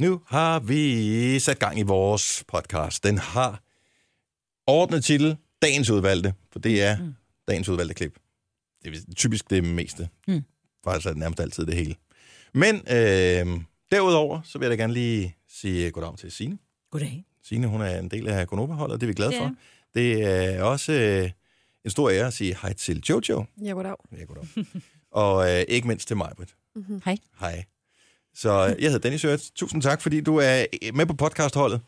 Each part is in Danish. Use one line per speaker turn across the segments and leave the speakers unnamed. Nu har vi sat gang i vores podcast. Den har ordnet titel Dagens Udvalgte, for det er mm. dagens udvalgte klip. Det er typisk det meste. Mm. Faktisk er det nærmest altid det hele. Men øh, derudover, så vil jeg da gerne lige sige goddag til Signe.
Goddag.
Signe, hun er en del af Konoba-holdet, og det er vi glade
Det
for.
er
Det er også øh, en stor ære at sige hej til Jojo.
Ja, goddag.
Ja, goddag. og øh, ikke mindst til Majbrit.
Mhm.
Hej.
Hej. Så øh, jeg hedder Dennis Hørts. Tusind tak, fordi du er øh, med på podcastholdet.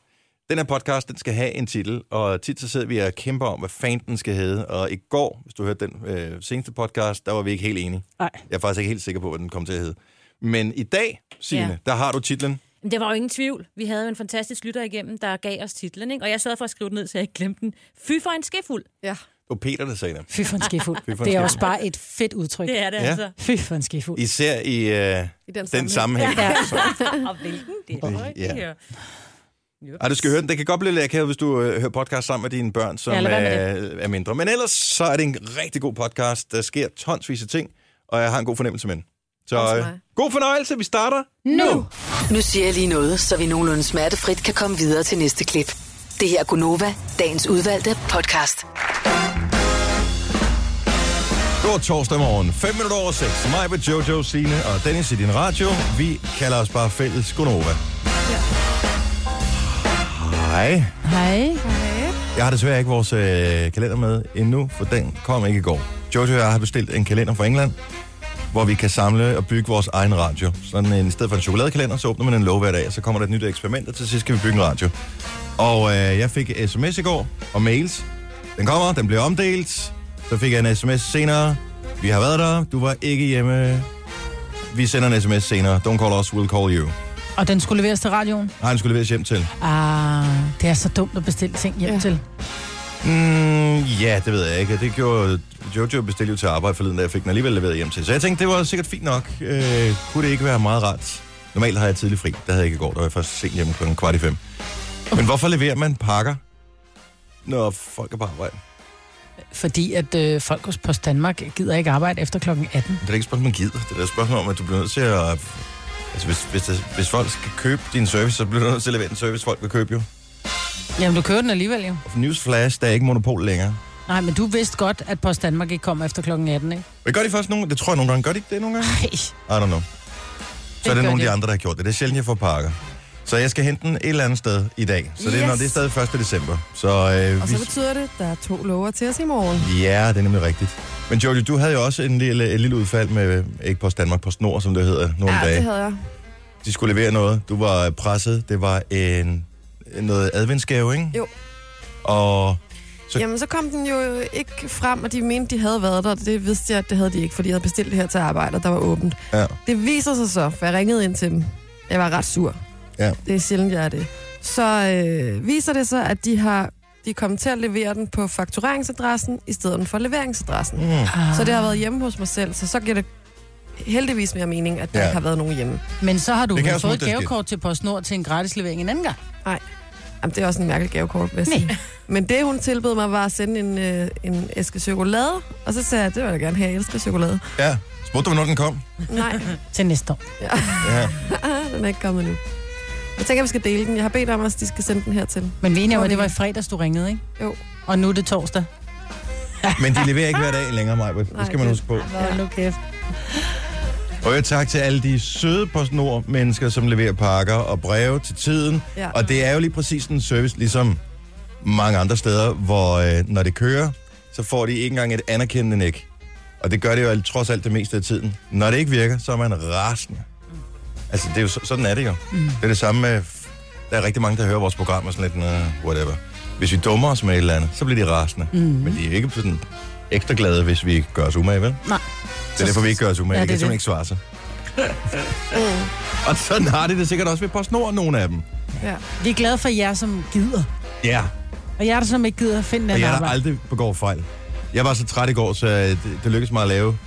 Den her podcast, den skal have en titel, og tit så sidder vi og kæmper om, hvad fanden den skal hedde. Og i går, hvis du hørte den øh, seneste podcast, der var vi ikke helt enige.
Nej.
Jeg er faktisk ikke helt sikker på, hvad den kommer til at hedde. Men i dag, Signe,
Ja.
ja. der har du titlen.
Men der var jo ingen tvivl. Vi havde jo en fantastisk lytter igennem, der gav os titlen, ikke? og jeg sørgede for at skrive den ned, så jeg ikke glemte den. Fy for en skefuld.
Ja.
Det var Peter, der sagde det.
Fy for en skefuld.
for en
det er
skefuld.
også bare et fedt udtryk.
Det er det
Ja.
ja. altså.
Fy for en skefuld.
Især i øh,
I den,
den sammenhæng.
Ja.
Og hvilken det
Ja.
er. Ja.
Ej, du skal høre den. Det kan godt blive lidt akavet, hvis du øh, hører podcast sammen med dine børn, som
Ja, lad være
er,
med
er mindre. Men ellers så er det en rigtig god podcast. Der sker tonsvis af ting, og jeg har en god fornemmelse med den. Så
Også
øh,
mig.
god fornøjelse. Vi starter nu.
Nu siger jeg lige noget, så vi nogenlunde smertefrit kan komme videre til næste klip. Det her er Gunova, dagens udvalgte podcast.
Det var torsdag morgen. 5 minutter over 6. Mig med Jojo, Signe og Dennis i din radio. Vi kalder os bare fælles Gunova. Hej.
Hej.
Jeg har desværre ikke vores øh, kalender med endnu, for den kom ikke i går. Jojo og jeg har bestilt en kalender fra England, hvor vi kan samle og bygge vores egen radio. Sådan en, i stedet for en chokoladekalender, så åbner man en låge hver dag, og så kommer der et nyt eksperiment, og til sidst skal vi bygge en radio. Og øh, jeg fik sms i går, og mails. Den kommer, den bliver omdelt. Så fik jeg en sms senere. Vi har været der, du var ikke hjemme. Vi sender en sms senere. Don't call us, we'll call you.
Og den skulle leveres til radioen.
Nej, den skulle leveres hjem til.
Ah, det er så dumt at bestille ting hjem ja.
Ja.
til.
Mm, ja, det ved jeg ikke. Det gjorde Jojo bestilte jo til arbejde forleden, da jeg fik den alligevel leveret hjem til. Så jeg tænkte, det var sikkert fint nok. Øh, kunne det ikke være meget rart? Normalt har jeg tidlig fri. Der havde jeg ikke i går. Der var jeg først sent hjemme klokken kvart i fem. Men hvorfor leverer man pakker, når folk er på arbejde?
Fordi at øh, folk hos Post Danmark gider ikke arbejde efter klokken 18.
Det er da ikke et spørgsmål, man gider. Det er da et spørgsmål om, at du bliver nødt til at... Altså, hvis, hvis, der, hvis folk skal købe din service, så bliver du nødt til at levere den service, folk vil købe jo.
Jamen, du kører den alligevel jo.
Og for Newsflash, der er ikke monopol længere.
Nej, men du vidste godt, at Post Danmark ikke kommer efter klokken 18, ikke?
Men gør de først nogle... Det tror jeg nogle gange. Gør de ikke det nogle gange?
Ej,
I don't know. Så er det
gør
nogle af de
det.
andre, der har gjort det. Det er sjældent, jeg får pakker. Så jeg skal hente den et eller andet sted i dag. Så det, er, når
Yes.
det er stadig 1. december. Så, øh,
Og så betyder det, at der er to lover til os i morgen.
Ja, det er nemlig rigtigt. Men Jojo, du havde jo også en lille, et lille udfald med, øh, ikke på Danmark, på Snor, som det hedder, nogle
Ja,
dage.
det havde jeg.
De skulle levere noget. Du var øh, presset. Det var en, noget adventsgave, ikke?
Jo.
Og Så-
Så... Jamen, så kom den jo ikke frem, og de mente, de havde været der. og Det vidste jeg, at det havde de ikke, fordi jeg havde bestilt det her til arbejde, og der var åbent.
ja,
Det viser sig så, for jeg ringede ind til dem. Jeg var ret sur.
Ja.
Det er sjældent, jeg er det. Så øh, viser det sig, at de har de er kommet til at levere den på faktureringsadressen, i stedet for leveringsadressen. Mm.
hmm.
Ah.
Så det har været hjemme hos mig selv, så så giver det heldigvis mere mening, at der
Ja.
ja. ikke har været nogen hjemme.
Men så har du
Det kan
vel
også
fået
være,
et
det er sket.
gavekort til PostNord til en gratis levering en anden gang.
Jamen, det er også en mærkelig gavekort, hvis
Nej.
Men det, hun tilbød mig, var at sende en, øh, en æske chokolade, og så sagde jeg, det vil jeg gerne have, jeg elsker chokolade.
ja. Spurgte du, hvornår den kom?
Nej,
Til næste år.
Ja.
den er ikke kommet nu. Jeg tænker, vi skal dele den. Jeg har bedt om, at de skal sende den hertil.
Men vi er enige om, at
Hvor
det
er
var i
det?
fredags, du ringede, ikke?
Jo.
Og nu er det torsdag.
Men de leverer ikke hver dag længere, Maja. Det skal man
det-
huske på.
Hold nu kæft.
Og jeg tak til alle de søde PostNord-mennesker, som leverer pakker og breve til tiden.
Ja.
Og det er jo lige præcis en service, ligesom mange andre steder, hvor øh, når det kører, så får de ikke engang et anerkendende næk. Og det gør det jo alt- trods alt det meste af tiden. Når det ikke virker, så er man rasende. Altså, det er jo, så- sådan er det jo. Mm. Det er det samme med... f- Der er rigtig mange, der hører vores program og sådan lidt, uh, whatever. Hvis vi dummer os med et eller andet, så bliver de rasende. Mm. Men de er ikke sådan ekstra glade, hvis vi gør os umage, vel?
Nej.
Det er derfor, vi ikke gør os umage.
Ja,
Ja, det,
det
kan
er
simpelthen
det.
ikke svare sig. Og sådan har det det sikkert også ved PostNord, nogle af dem.
Ja.
Vi er glade for jer, som gider.
Ja,
Og jer, der som ikke gider, find
og
den
jeg der
arbejde.
aldrig begår fejl. Jeg var så træt i går, så øh, det, det lykkedes mig at lave.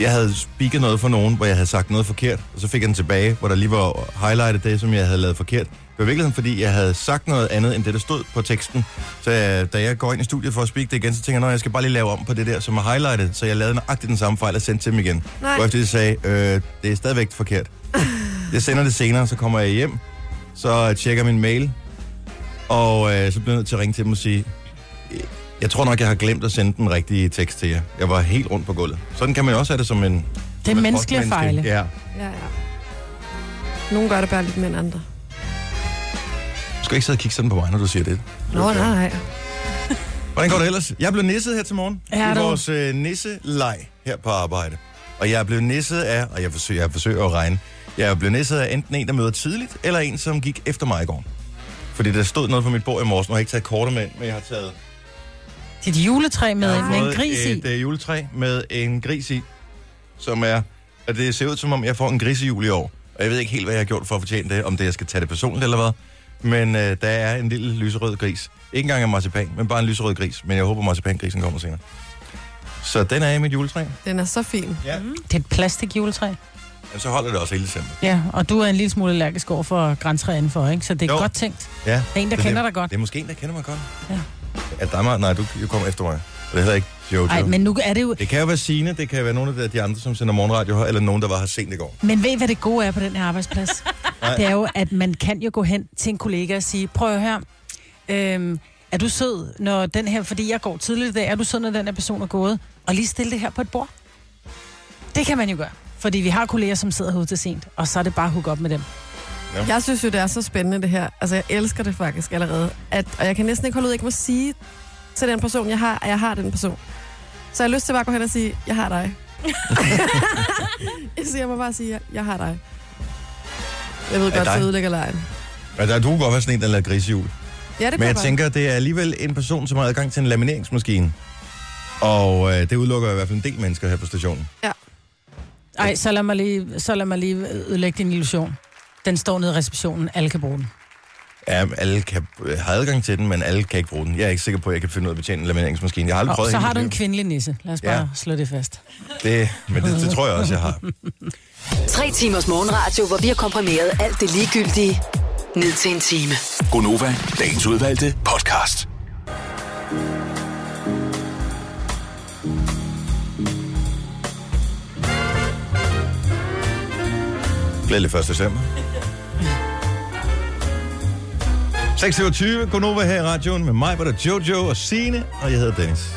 Jeg havde speaket noget for nogen, hvor jeg havde sagt noget forkert, og så fik jeg den tilbage, hvor der lige var highlightet det, som jeg havde lavet forkert. Det var virkelig fordi, jeg havde sagt noget andet, end det, der stod på teksten. Så øh, da jeg går ind i studiet for at speak det igen, så tænker jeg, at jeg skal bare lige lave om på det der, som er highlightet. Så jeg lavede nøjagtigt den samme fejl og sendte til dem igen.
Nej.
Hvorefter de sagde, øh, det er stadigvæk forkert. Jeg sender det senere, så kommer jeg hjem, så tjekker min mail, og øh, så bliver jeg nødt til at ringe til dem og sige, "Øh, jeg tror nok, jeg har glemt at sende den rigtige tekst til jer. Jeg var helt rundt på gulvet. Sådan kan man jo også have det som en...
Det
som
er
et
menneskelige
frostmenneske.
fejl.
Ja.
Ja, ja. Nogle gør det bare lidt mere end andre.
Du skal ikke sidde og kigge sådan på mig, når du siger det.
Nå, okay. nej, nej.
Hvordan går det ellers? Jeg blev nisset her til morgen.
Er
I
du?
vores øh, nisseleg her på arbejde. Og jeg blev nisset af, og jeg forsøger, jeg forsøger at regne, jeg blev nisset af enten en, der møder tidligt, eller en, som gik efter mig i går. Fordi der stod noget på mit bord i morges. Nu har jeg ikke taget kortet med, ind, men jeg har taget
Dit juletræ med,
jeg har
med en
fået
gris i.
et øh, juletræ med en gris i, som er... At det ser ud, som om jeg får en grisejul i år. Og jeg ved ikke helt, hvad jeg har gjort for at fortjene det, om det jeg skal tage det personligt eller hvad. Men øh, der er en lille lyserød gris. Ikke engang en marcipan, men bare en lyserød gris. Men jeg håber, marcipangrisen kommer senere. Så den er i mit juletræ.
Den er så fin.
Ja. Mm.
Det er et plastikjuletræ.
Men så holder det også hele december.
Ja, og du er en lille smule allergisk over for græntræ indenfor, ikke? Så det er
Jo.
jo. godt tænkt.
Ja.
Der er en, der
Så
kender
det,
dig godt.
Det er måske en, der kender mig godt.
Ja.
At dig, Mar- nej, du, du kommer efter mig. Og det hedder ikke Jojo.
Nej, men nu er det jo...
Det kan jo være Signe, det kan være nogle af de andre, som sender morgenradio, eller nogen, der var her sent i går.
Men ved I, hvad det gode er på den her arbejdsplads? det er jo, at man kan jo gå hen til en kollega og sige, prøv her, øhm, er du sød, når den her, fordi jeg går tidligt i dag, er du sød, når den her person er gået? Og lige stille det her på et bord. Det kan man jo gøre. Fordi vi har kolleger, som sidder herude til sent, og så er det bare at hook op med dem.
Jeg synes jo, det er så spændende det her. Altså, jeg elsker det faktisk allerede. At, og jeg kan næsten ikke holde ud, at jeg ikke må sige til den person, jeg har, at jeg har den person. Så jeg har lyst til bare at gå hen og sige, jeg har dig. så jeg må bare sige, jeg har dig. Jeg ved
Er
godt,
dig?
så ødelægger lejen.
Ja, der, du kunne godt være sådan en, der lader grisehjul.
Ja, det
Men
kan
jeg
godt.
tænker, det er alligevel en person, som har adgang til en lamineringsmaskine. Og øh, det udelukker i hvert fald en del mennesker her på stationen.
Ej, så lad mig lige, så lad mig lige ødelægge din illusion. Den står nede i receptionen, alle kan bruge den.
Ja, alle kan, øh, har adgang til den, men alle kan ikke bruge den. Jeg er ikke sikker på, at jeg kan finde ud af at betjene en lamineringsmaskine. Jeg har aldrig
Og
prøvet
så
hele
har du
mit
en kvindelig nisse. Lad os
Ja.
bare ja. slå det fast.
liv. det, Men det, det, tror jeg også, jeg har.
Tre timers morgenradio, hvor vi har komprimeret alt det ligegyldige ned til en time.
Gonova, dagens udvalgte podcast.
Glædelig 1. december. 26. Gunova her i radioen med mig, var der Jojo og Sine og jeg hedder Dennis.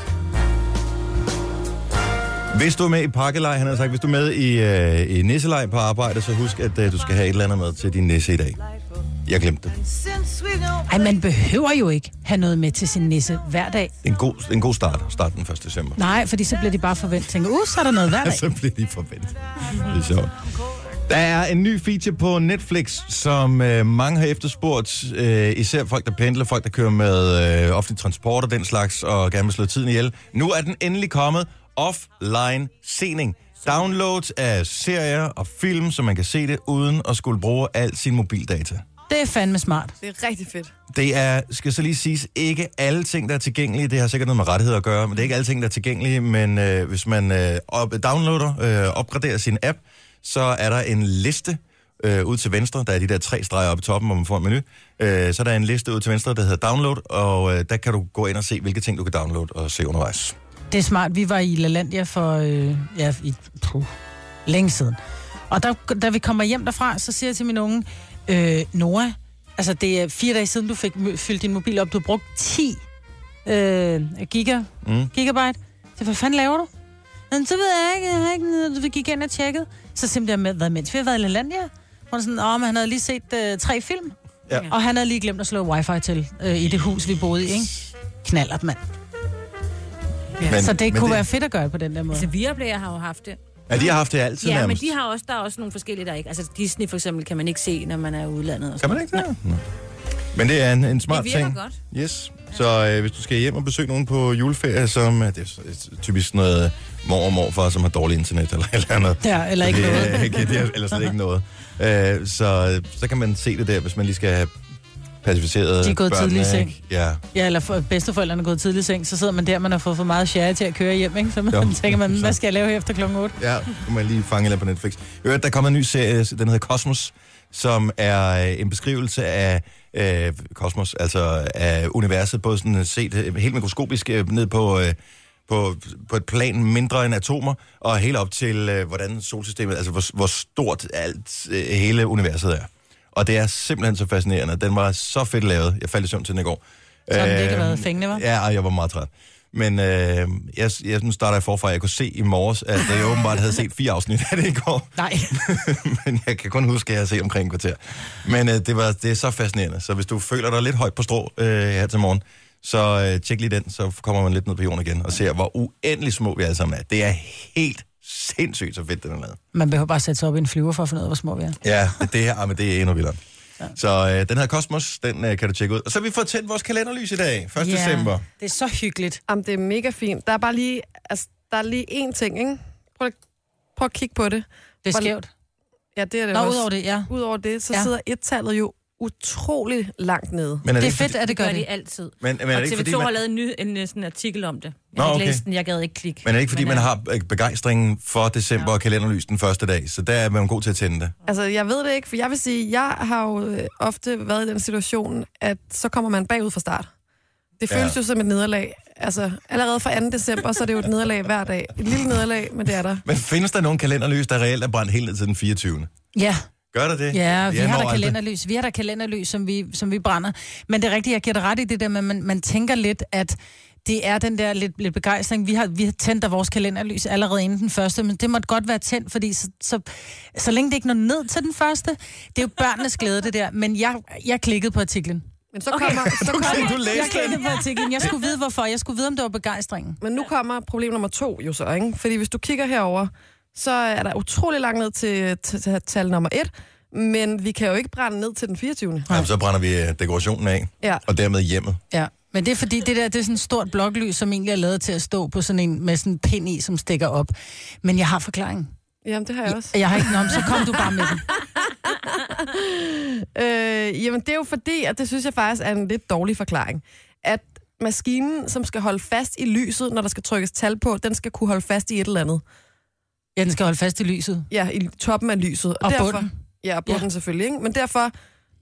Hvis du er med i pakkelej, han har sagt, hvis du er med i, øh, i nisselej på arbejde, så husk, at øh, du skal have et eller andet med til din nisse i dag. Jeg glemte det.
Ej, man behøver jo ikke have noget med til sin nisse hver dag.
En god, en god start, start den 1. december.
Nej, fordi så bliver de bare forventet. Tænker, uh, så er der noget hver dag.
så bliver de forventet. Det er sjovt. Der er en ny feature på Netflix, som øh, mange har efterspurgt. Øh, især folk, der pendler, folk, der kører med øh, offentlig transport og den slags, og gerne vil slå tiden ihjel. Nu er den endelig kommet. Offline sening. Downloads af serier og film, så man kan se det uden at skulle bruge al sin mobildata.
Det er fandme smart.
Det er rigtig fedt.
Det er, skal så lige siges, ikke alle ting, der er tilgængelige. Det har sikkert noget med rettigheder at gøre, men det er ikke alle ting, der er tilgængelige. Men øh, hvis man øh, op, downloader, øh, opgraderer sin app, så er der en liste øh, ud til venstre. Der er de der tre streger oppe i toppen, hvor man får en menu. Øh, så er der en liste ud til venstre, der hedder download, og øh, der kan du gå ind og se, hvilke ting du kan downloade og se undervejs.
Det er smart. Vi var i LaLandia for øh, ja, i, puh, længe siden. Og der, da vi kommer hjem derfra, så siger jeg til min unge, øh, Nora, altså det er fire dage siden, du fik mø- fyldt din mobil op. Du har brugt 10 øh, giga,
Mm.
mm. gigabyte. Så hvad fanden laver du? Men så ved jeg ikke, jeg har ikke noget." vi gik ind og tjekkede. Så simpelthen med, hvad mens vi har været i LaLandia? Hun er sådan, åh, men han havde lige set øh, tre film.
Ja.
Og han havde lige glemt at slå wifi til øh, i det hus, vi boede i, ikke? Knallert, mand.
Men-
Men, så det
men
kunne
det-
det... være fedt at gøre det på den der måde.
Altså, Viaplayer har jo haft det.
Ja, de har haft det altid
Ja, men
nærmest.
de har også, der er også nogle forskellige, der ikke. Altså Disney for eksempel kan man ikke se, når man er i udlandet. Og
Kan man ikke det? Nå. Men det er en, en smart
Det virker
ting.
godt.
Yes. Så øh, hvis du skal hjem og besøge nogen på juleferie, som øh, det er s- s- typisk sådan noget øh, mor og morfar, som har dårlig internet eller et eller andet.
Ja, eller ikke
det,
noget.
øh, Ikke, det er, eller slet ikke noget. Øh, så, så kan man se det der, hvis man lige skal have pacificeret
De er gået
børnene,
tidligt i seng.
ikke? Ja.
Ja, eller for, bedsteforældrene er gået tidlig i seng, så sidder man der, man har fået for meget share til at køre hjem, ikke? Så man
Jo.
tænker man,
Så-
hvad skal jeg lave her efter klokken 8?
Ja, kunne man lige fange lidt på Netflix. I Øvrigt, der kommer en ny serie, den hedder Cosmos, som er øh, en beskrivelse af øh, kosmos, altså af universet, både sådan set øh, helt mikroskopisk øh, ned på, øh, på, på et plan mindre end atomer, og helt op til, øh, hvordan solsystemet, altså hvor, hvor stort alt, øh, hele universet er. Og det er simpelthen så fascinerende. Den var så fedt lavet. Jeg faldt i søvn til den i går.
Så har den virkelig
Øh,
været fængende, hva'?
Ja, og jeg var meget træt. Men øh, jeg, jeg, nu starter jeg forfra. Jeg kunne se i morges, at jeg åbenbart havde set fire afsnit af det i går.
Nej.
men jeg kan kun huske, at jeg har set omkring en kvarter. Men øh, det, var, det er så fascinerende. Så hvis du føler dig lidt højt på strå øh, her til morgen, så øh, tjek lige den, så kommer man lidt ned på jorden igen og ser, hvor uendelig små vi alle sammen er. Det er helt sindssygt så fedt, den er lavet.
Man behøver bare sætte sig op i en flyver for at finde ud af, hvor små vi er.
Ja, det, det her, ah, men det er endnu vildere. Ja. Så øh, den her Cosmos, den øh, kan du tjekke ud. Og så har vi fået tændt vores kalenderlys i dag, 1. Yeah. december.
Det er så hyggeligt.
Jamen, det er mega fint. Der er bare lige, altså, der er lige én ting, ikke? Prøv, at- prøv at kigge på det.
Det er
Hvor-
skævt.
Ja, det er det
Nå,
også.
udover det, ja.
Udover det, så
Ja.
ja. sidder et-tallet jo utrolig langt nede.
Men
Det er
ikke
fedt,
fordi-
at det gør
gør de
det.
altid.
Men- men er det
og
ikke, fordi
TV2
man-
har lavet en, ny, en, øh, sådan artikel om det. Jeg
Nå,
har
okay.
ikke læst den, jeg gad ikke klikke.
Men er det ikke, fordi man
øh,
har øh, begejstringen for december og kalenderlys den første dag, så der er man god til at tænde det.
Altså, jeg ved det ikke, for jeg vil sige, jeg har jo øh, ofte været i den situation, at så kommer man bagud fra start. Det
Ja.
føles jo som et nederlag. Altså, allerede fra 2. december, så er det jo et nederlag hver dag. Et lille nederlag, men det er der.
Men findes der nogen kalenderlys, der reelt er brændt helt ned til den 24.
Ja,
Gør der det?
ja vi
Jeg når
har der
aldrig.
kalenderlys. Vi har der kalenderlys, som vi, som vi brænder. Men det er rigtigt, jeg giver dig ret i det der med, at man, man tænker lidt, at det er den der lidt, lidt begejstring. Vi har, vi har tændt af vores kalenderlys allerede inden den første, men det måtte godt være tændt, fordi så, så, så længe det ikke når ned til den første, det er jo børnenes glæde, det der. Men jeg, jeg klikkede på artiklen.
Men så kommer, okay. så kommer,
Du læste
Jeg
den.
klikkede på artiklen. Jeg skulle vide, hvorfor. Jeg skulle vide, om det var begejstringen.
Men nu kommer problem nummer to jo så, ikke? Fordi hvis du kigger herover, så er der utrolig langt ned til, til, til tal nummer et, men vi kan jo ikke brænde ned til den 24.
Jamen, så brænder vi øh, dekorationen af,
Ja.
og dermed hjemmet.
Ja, men det er fordi, det der det er sådan et stort bloklys, som egentlig er lavet til at stå på sådan en med sådan en pind i, som stikker op. Men jeg har forklaringen.
Jamen, det har jeg også.
Jeg har ikke nogen, så kom du bare med den.
Øh, jamen, det er jo fordi, og det synes jeg faktisk er en lidt dårlig forklaring, at maskinen, som skal holde fast i lyset, når der skal trykkes tal på, den skal kunne holde fast i et eller andet.
Ja, den skal holde fast i lyset.
Ja, i toppen af lyset.
Og
derfor,
bunden.
Ja, og bunden ja. selvfølgelig, ikke? Men derfor,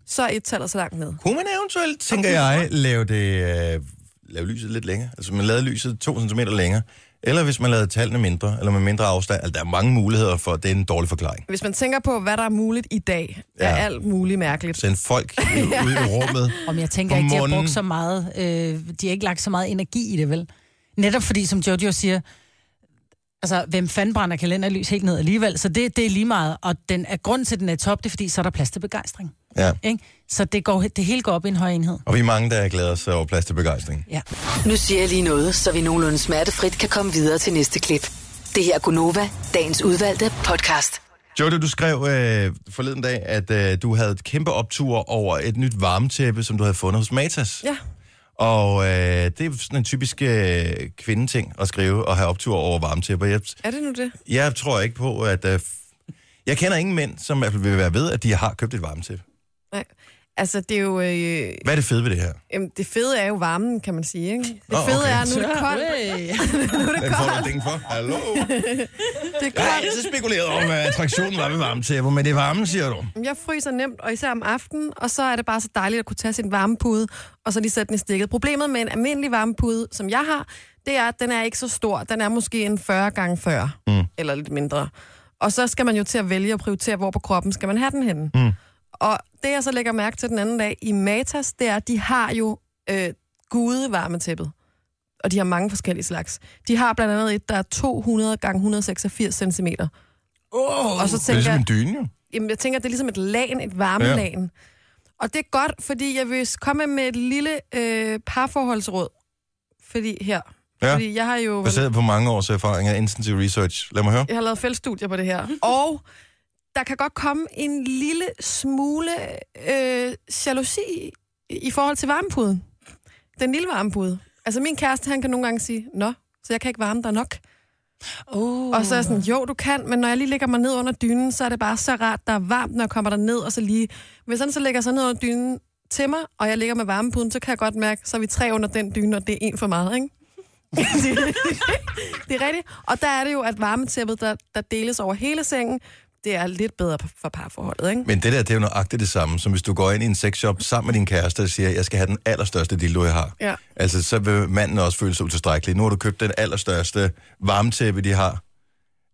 så er et tallet så langt ned.
Kunne man eventuelt, tænker jeg, lave, det, øh, lave lyset lidt længere? Altså, man lavede lyset 2 cm længere. Eller hvis man lavede tallene mindre, eller med mindre afstand. Altså, der er mange muligheder for, det er en dårlig forklaring.
Hvis man tænker på, hvad der er muligt i dag, er
Ja.
alt muligt mærkeligt.
Send folk øh, ud i rummet.
Om jeg tænker
På
ikke, de har
munden.
brugt så meget, øh, de har ikke lagt så meget energi i det, vel? Netop fordi, som Jojo siger, altså, hvem fanden brænder kalenderlys helt ned alligevel? Så det, det er lige meget. Og den er grund til, at den er i top, det er fordi, så er der plads til begejstring.
Ja.
Ikke? Så det, går, det hele går op i en høj enhed.
Og vi er mange, der glæder sig over plads til begejstring.
Ja.
Nu siger jeg lige noget, så vi nogenlunde smertefrit kan komme videre til næste klip. Det her er Gunova, dagens udvalgte podcast.
Jojo, du skrev øh, forleden dag, at øh, du havde et kæmpe optur over et nyt varmetæppe, som du havde fundet hos Matas.
Ja.
Og øh, det er sådan en typisk øh, kvindeting at skrive og have optur over varmetæpper. Jeg,
Er det nu det?
jeg tror ikke på, at... Øh, f- jeg kender ingen mænd, som i hvert fald vil være ved, at de har købt et varmetæppe.
Nej. Altså, det er jo... Øh,
Hvad er det fede ved det her?
jamen, det fede er jo varmen, kan man sige, ikke? Det
Nå,
fede
okay.
er, nu er det koldt.
Hvad får du ding for? Hallo?
Det er
Jeg har
koldt.
altid spekuleret om, at attraktionen var ved varmetæpper, men det er varmen, siger du.
Jeg fryser nemt, og især om aftenen, og så er det bare så dejligt at kunne tage sin varmepude, og så lige sætte den i stikket. Problemet med en almindelig varmepude, som jeg har, det er, at den er ikke så stor. Den er måske en 40 gange 40 mm. eller lidt mindre. Og så skal man jo til at vælge og prioritere, hvor på kroppen skal man have den henne. Mm. Og det, jeg så lægger mærke til den anden dag i Matas, det er, at de har jo øh, gude varmetæppet. Og de har mange forskellige slags. De har blandt andet et, der er 200 gange 186 cm. Oh, og så
Det er
tænker
ligesom
jeg,
en dyne, jo.
jamen, jeg tænker, det er ligesom et lagen, et varmelagen. Ja. Og det er godt, fordi jeg vil komme med et lille øh, parforholdsråd. Fordi her.
Ja.
Ja. Fordi jeg har jo
Baseret på mange års erfaringer, intensiv research. Lad mig høre.
jeg har lavet feltstudier på det her. Og der kan godt komme en lille smule øh, jalousi i- i forhold til varmepuden. Den lille varmepude. Altså min kæreste, han kan nogle gange sige, nå, så jeg kan ikke varme dig nok.
Uh.
Og så er jeg sådan, jo, du kan, men når jeg lige lægger mig ned under dynen, så er det bare så rart, der er varmt, når jeg kommer der ned og så lige... Hvis han så lægger sig ned under dynen til mig, og jeg ligger med varmepuden, så kan jeg godt mærke, så er vi tre under den dyne, og det er en for meget, ikke? det, det er rigtigt. Og der er det jo, at varmetæppet, der, der deles over hele sengen, det er lidt bedre for parforholdet, ikke?
Men det der, det er jo nøjagtigt det samme, som hvis du går ind i en sexshop sammen med din kæreste og siger, jeg skal have den allerstørste dildo, jeg har.
Ja.
Altså, så vil manden også føle sig utilstrækkelig. Nu har du købt den allerstørste varmetæppe, de har.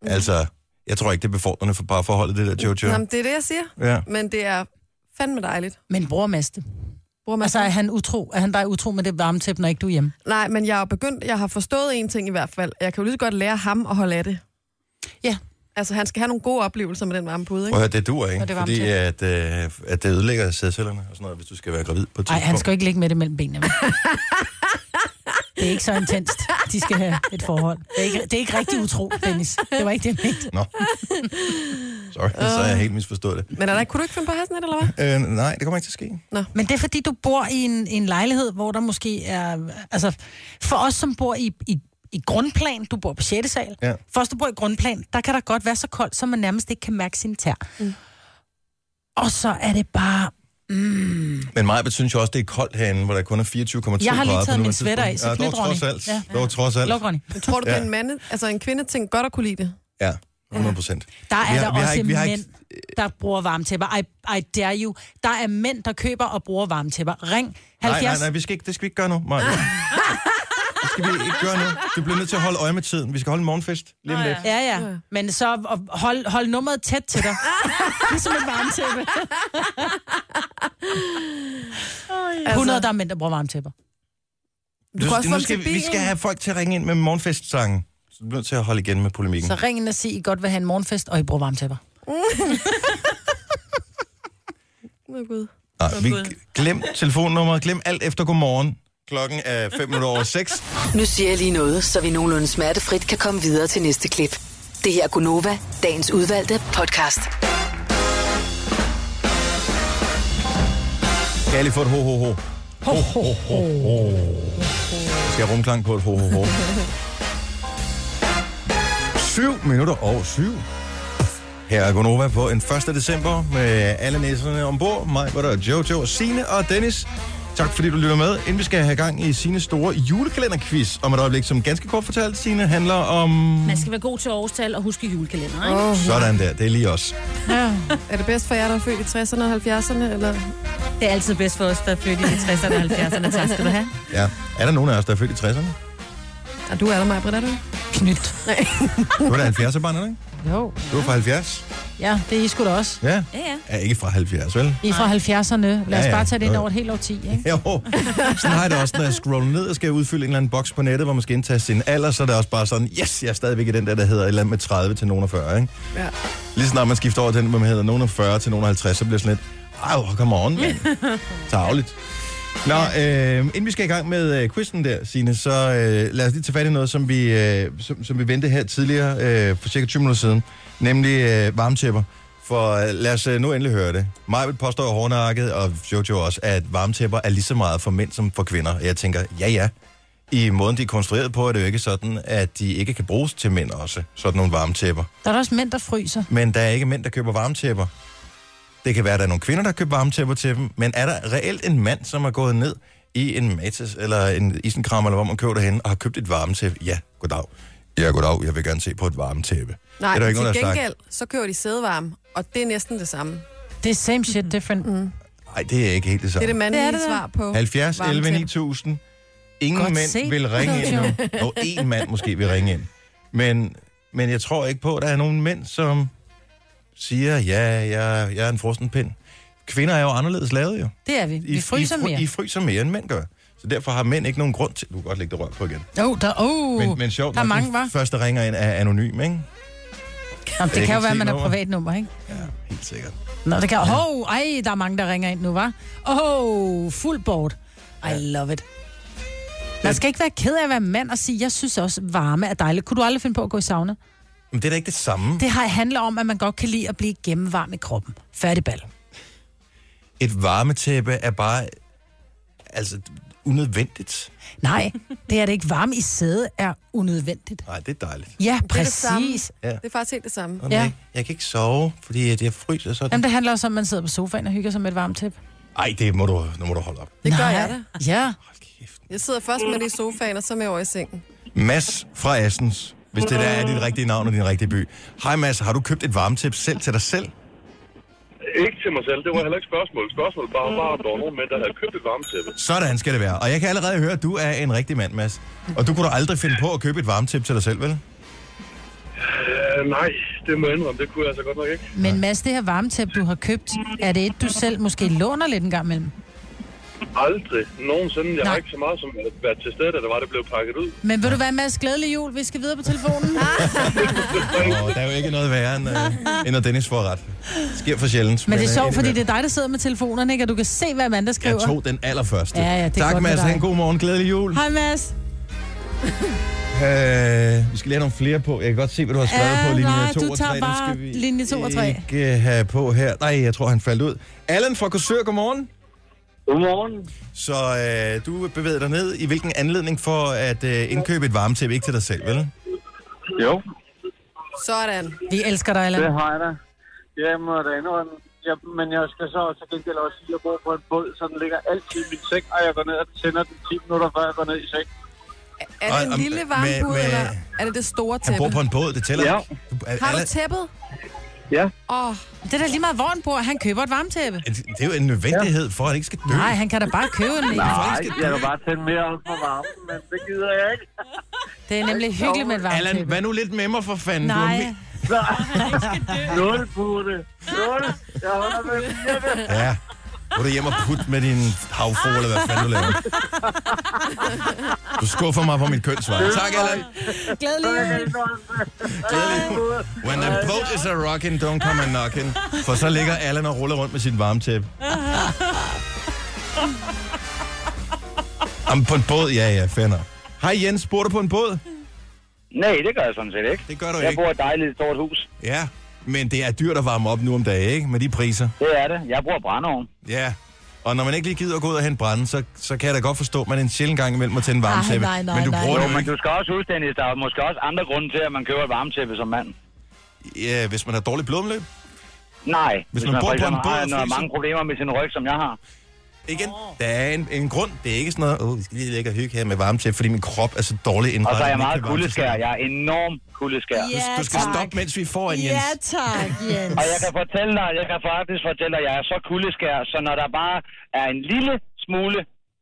Mm. Altså, jeg tror ikke, det er befordrende for parforholdet,
Mm.
det der, Jojo.
Jamen, det er det, jeg siger.
Ja.
Men det er fandme dejligt.
Men bror Maste.
Bruger man
Altså, er han, utro? er han bare utro med det varmetæppe, når ikke du er hjemme?
Nej, men jeg har begyndt, jeg har forstået en ting i hvert fald. Jeg kan jo lige så godt lære ham at holde af det.
Ja.
Altså, han skal have nogle gode oplevelser med den varme pude,
Prøv
ikke?
at høre, det duer, ikke?
Og det er
Fordi at, øh, at det ødelægger sædcellerne og sådan noget, hvis du skal være gravid på et
Nej,
tidspunkt.
han skal jo ikke ligge med det mellem benene. vel? Det er ikke så intenst. De skal have et forhold. Det er ikke, det er ikke rigtig utro, Dennis. Det var ikke det, jeg mente.
Nå. Sorry, så har jeg helt misforstået det.
Men er der, kunne du ikke finde på at have sådan et, eller hvad?
Øh, nej, det kommer ikke til at ske.
Men det er fordi, du bor i en, en lejlighed, hvor der måske er... Altså, for os, som bor i, i, i grundplan, du bor på 6. sal.
Ja.
For os, der bor i grundplan, der kan der godt være så koldt, så man nærmest ikke kan mærke sine tær. Mm. Og så er det bare...
Men mig synes jo også, det er koldt herinde, hvor der kun er 24,2 grader.
Jeg har lige
på
taget min
nuværende
sweater af,
tidspunkt.
så
Ja, dog trods alt.
knyt, Ronny. Ja.
Dog trods alt.
Luk, Ronny.
Tror du, det er
Ja.
en mand, altså en kvinde ting godt at kunne lide det?
Ja, 100 procent.
Der er
Vi har-
der
vi har
også
ikke- vi har
mænd,
ikke-
der bruger varmtæpper. I, I dare you. Der er mænd, der køber og bruger varmtæpper. Ring 70...
Nej, nej, nej, vi skal ikke, det skal vi ikke gøre nu, Maja. det skal vi ikke gøre nu. Du bliver nødt til at holde øje med tiden. Vi skal holde en morgenfest lige om lidt.
Ja, ja. Men så og hold, hold nummeret tæt til dig. ligesom et varmtæppe.
Altså,
100, der er mænd, der bruger varmtæpper.
Mm.
Du kan også få
nu
dem
skal,
til
vi- vi
bilen.
skal have folk til at ringe ind med morgenfestsangen. Så du bliver nødt til at holde igen med polemikken.
Så ring ind og sig, I godt vil have en morgenfest, og I bruger varmtæpper.
Åh, Gud.
Nej, vi glem telefonnummeret, glem alt efter godmorgen. Klokken er 5 minutter over 6.
Nu siger jeg lige noget, så vi nogenlunde smertefrit kan komme videre til næste klip. Det her er Gunova, dagens udvalgte podcast.
Kan jeg lige få et ho-ho-ho?
Ho, ho, ho.
Skal jeg rumklang på et ho-ho-ho? 7 minutter over 7. Her er Gonova på en 1. december med alle næserne ombord. Mig, hvor der er Jojo, Sine og Dennis. Tak fordi du lytter med. Inden vi skal have gang i Sines store julekalenderquiz om et øjeblik, som ganske kort fortalt, Sine, handler om...
Man skal være god til årstal og huske julekalender, ikke?
Sådan der, det er lige os.
Er det bedst for jer, der er født i 60'erne og 70'erne? Eller?
Det er altid bedst for os, der er født i de 60'erne og 70'erne. Tak skal du have.
Ja. Er der nogen af os, der er født i 60'erne?
Ja, du er der, Maja, Britt, er du?
Knyt.
Du er da 70'er barn, ikke?
Jo.
Du er fra 70.
Ja, det er I sgu da også.
Ja.
Ja, ja.
Er ikke fra 70, vel?
I er fra 70'erne. Lad
Ja,
os
ja.
bare tage det ind
Jo.
over et helt årti, ikke?
Jo, sådan har jeg det også, når jeg scroller ned og skal udfylde en eller anden boks på nettet, hvor man skal indtaste sin alder, så er det også bare sådan, yes, jeg er stadigvæk i den der, der hedder et eller andet med 30 til nogen af 40, ikke?
Ja.
Lige snart man skifter over til den, hvor man hedder nogen af 40 til nogen af 50, så bliver det sådan lidt, ej, come on, mand. Tavligt. Nå, øh, inden vi skal i gang med øh, quizzen der, Signe, så øh, lad os lige tage fat i noget, som vi, øh, som, som vi vendte her tidligere, øh, for cirka 20 minutter siden, nemlig øh, varmtæpper. For øh, lad os øh, nu endelig høre det. Majbet påstår hårdnakket, og Jojo også, at varmtæpper er lige så meget for mænd som for kvinder. Og jeg tænker, ja ja, i måden de er konstrueret på, er det jo ikke sådan, at de ikke kan bruges til mænd også, sådan nogle varmtæpper.
Der er da også mænd, der fryser.
Men der er ikke mænd, der køber varmtæpper. Det kan være, at der er nogle kvinder, der køber varmtæpper til dem, men er der reelt en mand, som er gået ned i en Matas eller en isenkram, eller hvor man køber det henne, og har købt et varmtæppe? Ja, goddag. Ja, goddag, jeg vil gerne se på et varmtæppe.
Nej,
det er der ikke
til
nogen, der har
gengæld, så kører de sædevarme, og det er næsten det samme.
Det er same shit, different. Mm.
sagt. Nej, det er ikke helt det
Det er
samme.
det
Det
mandlige
Det
det
er det da.
svar på.
det 70, 11,
varmtæppe.
9000. Ingen
Godt
mænd
set,
vil ringe ind nu. Og en mand måske vil ringe ind. Men, men jeg tror ikke på, at der er nogen mænd, som siger, ja, jeg, jeg er en frosten pind. Kvinder er jo anderledes lavet jo.
Det er vi. Vi fryser
I, fry-
mere.
I fryser mere, end mænd gør. Så derfor har mænd ikke nogen grund til... Du kan godt lægge det rør på igen.
Oh, der, oh.
Men, men sjovt,
der er
nok,
mange,
den
var.
første der ringer ind er anonym, ikke?
Jamen,
Jeg
det kan jo
kan
være,
se
at man er
nummeret.
privatnummer, ikke?
Ja, helt sikkert.
Nå, det kan... Hov, oh, ej, der er mange, der ringer ind nu, var. Oh, fuld board. I love it. Man skal ikke være ked af at være mand og sige, jeg synes også, varme er dejligt. Kunne du aldrig finde på at gå i sauna?
Men det er da ikke det samme.
Det har handler om, at man godt kan lide at blive gennemvarm i kroppen. Færdig bal.
Et varmetæppe er bare... Altså, unødvendigt.
Nej, det er det ikke. Varme i sæde er unødvendigt.
Nej, det er dejligt.
Ja,
Det er det samme.
præcis.
Ja.
Det er faktisk helt det samme.
Sådan,
Ja.
ja. Jeg kan ikke sove, fordi at jeg fryser sådan.
Jamen, det handler også om, at man sidder på sofaen og hygger sig med et varmt tæppe.
Ej, det må du, nu må du holde op.
Det gør
Nej.
jeg da.
Ja.
Hold kæft.
Jeg sidder først med det i sofaen, og så med over i sengen.
Mads fra Assens hvis det der er dit rigtige navn og din rigtige by. Hej Mads, har du købt et varmetæppe selv til dig selv?
Ikke til mig selv, det var heller ikke spørgsmål. Spørgsmålet bare,
Mm.
bare om der var nogen mænd, der havde købt et varmetæppe.
Sådan skal det være. Og jeg kan allerede høre, at du er en rigtig mand, Mads. Og du kunne da aldrig finde på at købe et varmetæppe til dig selv, vel?
Øh, nej, det må jeg indrømme, det kunne jeg altså godt nok ikke.
Men Mads, det her varmetæppe, du har købt, er det et, du selv måske låner lidt en gang imellem?
Aldrig nogensinde. Jeg
Nej.
har ikke så meget som at være til stede, da det var, det blev pakket ud.
Men vil du være, Mads, glædelig jul? Vi skal videre på telefonen.
Og der er jo ikke noget værre, end, øh, end at Dennis får ret. Det sker for sjældent.
Men det er sjovt, fordi
indimellem.
det er dig, der sidder med telefonerne, ikke? Og du kan se, hvad Amanda skriver.
Jeg tog den allerførste.
Ja, ja, det er
tak,
godt med
Mads.
dig.
Ha' en god morgen. Glædelig jul.
Hej, Mads.
Øh, vi skal lige have nogle flere på. Jeg kan godt se, hvad du har skrevet
Ja,
på linje
nej,
2
du
og 3.
tager
Dem
bare
skal vi
linje to og tre.
ikke øh, have på her. Nej, jeg tror, han faldt ud. Allan fra Korsør, godmorgen.
Godmorgen.
Så øh, du bevæger dig ned. I hvilken anledning for at øh, indkøbe et varmetæppe? Ikke til dig selv, vel?
Jo,
Sådan.
Vi elsker dig,
det
Allan.
har jeg da. Jeg må da indrømme. Ja, men jeg skal så til gengæld også sige, at jeg bor på en båd, så den ligger altid i min seng, og jeg går ned og tænder den 10 minutter, før jeg går ned i seng.
Er
Og-
det en
om-
lille varmebud,
med- med-
eller er det det store
Han
tæppe?
bor på en båd, det tæller
Ja.
ikke. Du, er,
Har du
Allan-
tæppet?
Ja,
Åh, oh,
Det er da lige meget, hvor han bor. Han køber et varmetæppe.
det er jo en nødvendighed for, at han ikke skal dø.
Nej, han kan da bare købe en.
nej, jeg kan bare tænde mere op for varmen, men det gider jeg ikke.
Det er nemlig hyggeligt med et
Allan,
varmetæppe.
vær nu lidt med mig for fanden. Du er
Nej,
Nul, putte. Nul. Jeg holder med fire.
mi- Ja. Gå du hjem og put med din havfru, eller hvad fanden du laver. Du skuffer mig på mit kønsvej. Tak, Allan.
glædelig jul.
Glædelig jul. When the boat is a rockin', don't come a knockin'. For så ligger Allan og ruller rundt med sin varmetæppe. Om på en båd? Ja, ja, fair nok. Hej Jens, bor du på en båd?
Nej, det gør jeg sådan set ikke.
Det gør du
Jeg
ikke.
bor i et dejligt stort hus.
Ja, men det er dyrt at varme op nu om dagen, ikke? Med de priser.
Det er det. Jeg bruger brændeovn.
Ja. Og når man ikke lige gider at gå ud og hente brænde, så, så kan jeg da godt forstå, at man en sjældent gang imellem må tænde varmetæppe.
nej, nej,
men du
nej.
bruger
Jo,
det jo
men
ikke,
du skal også huske, Dennis, der er måske også andre grunde til, at man køber et varmtæppe som mand.
ja, hvis man har dårligt blodomløb.
Nej,
Hvis man bor
for
på en
eksempel
båd
har
og
noget,
fryser.
mange problemer med sin ryg, som jeg har.
Igen, der er en, en grund. Det er ikke sådan noget, åh, oh, vi skal lige ligge og hygge her med varmetæppe, fordi min krop er så dårlig
Og
indrettet.
så er jeg
at den
meget
ikke kan varme sig
kuldeskær.
selv.
Jeg er enorm kuldeskær.
Ja,
Du skal
tak.
stoppe, mens vi får en, Jens.
Ja, tak, Jens.
Og jeg kan fortælle dig, jeg kan faktisk fortælle dig, jeg er så kuldeskær, så når der bare er en lille smule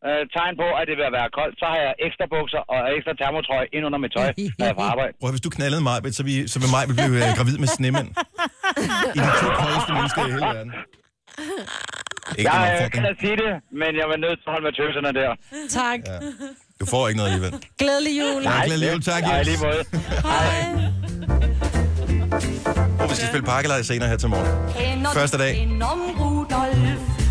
øh, tegn på, at det vil være koldt, så har jeg ekstra bukser og ekstra termotrøje ind under mit tøj, når jeg er på arbejde.
Prøv, at- hvis du knaldede mig, så, vi, så vil mig blive øh, gravid med snemænd. I de to koldeste mennesker i hele verden. Ikke
Jeg
den
øh, kan
opfordring.
da sige det, men jeg var nødt til at holde med tøserne der.
Tak.
Du får ikke noget alligevel.
Glædelig jul.
Nej, glædelig jul, tak,
Nej,
Jens.
lige måde.
Oh, vi skal spille pakkelej senere her til morgen. Første dag.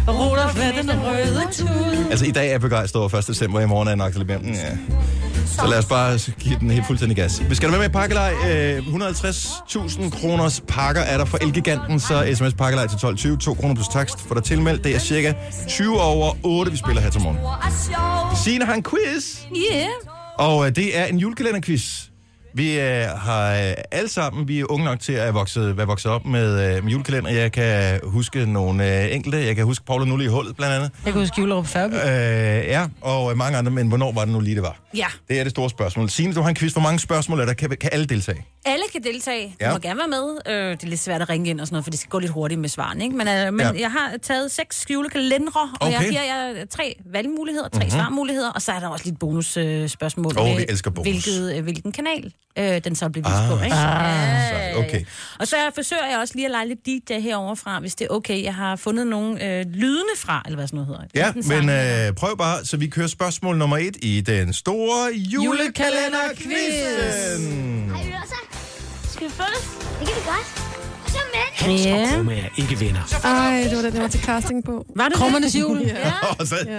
Rudolf med den røde tud.
Altså, i dag er jeg begejstret over 1. december, i morgen er jeg nok lidt mere. mm, Ja. Så lad os bare give den helt fuldstændig gas. Vi skal da med med i pakkelej. Øh, 150.000 kroners pakker er der for Elgiganten, så sms pakkelej til 12.20, 2 kroner plus takst for dig tilmeldt. Det er cirka 20 over 8, vi spiller her til morgen. Signe har en quiz.
Yeah.
Og øh, det er en julekalenderquiz. Vi øh, har øh, alle sammen, vi er unge nok til at vokse, være vokset op med, øh, med julekalender. Jeg kan huske nogle øh, enkelte. Jeg kan huske Paul og Nulle i hullet, blandt andet.
Jeg kan huske Julerup Færby.
Øh, ja, og øh, mange andre, men hvornår var det nu lige, det var?
Ja.
Det er det store spørgsmål. Signe, du har en quiz. Hvor mange spørgsmål er der? Kan, kan alle deltage?
Alle kan deltage. Du
Ja.
må gerne være med. Øh, det er lidt svært at ringe ind og sådan noget, for det skal gå lidt hurtigt med svarene. Ikke? Men, øh, men
Ja.
jeg har taget seks julekalendere, og
Okay. Mhm.
jeg giver jer tre valgmuligheder, tre mm-hmm. svarmuligheder, og så er der også lidt bonusspørgsmål. Øh, spørgsmål
Åh,
med,
vi elsker bonus.
Hvilket, øh, hvilken kanal øh, den så bliver vist på. Ikke?
Så, ah, okay.
Og så forsøger jeg også lige at lege lidt DJ herovre fra, hvis det er okay. Jeg har fundet nogle øh, lydene fra, eller hvad sådan noget
Ja,
hedder. Enten
men
sange-
øh, prøv bare, så vi kører spørgsmål nummer et i den store julekalenderquiz.
Har I også? Skal vi følges? Det kan vi godt. Og så med.
Ja.
Krumme er ikke venner.
ej, det var den, jeg var til casting på.
Var det
Krummernes jul.
Og så,
Okay,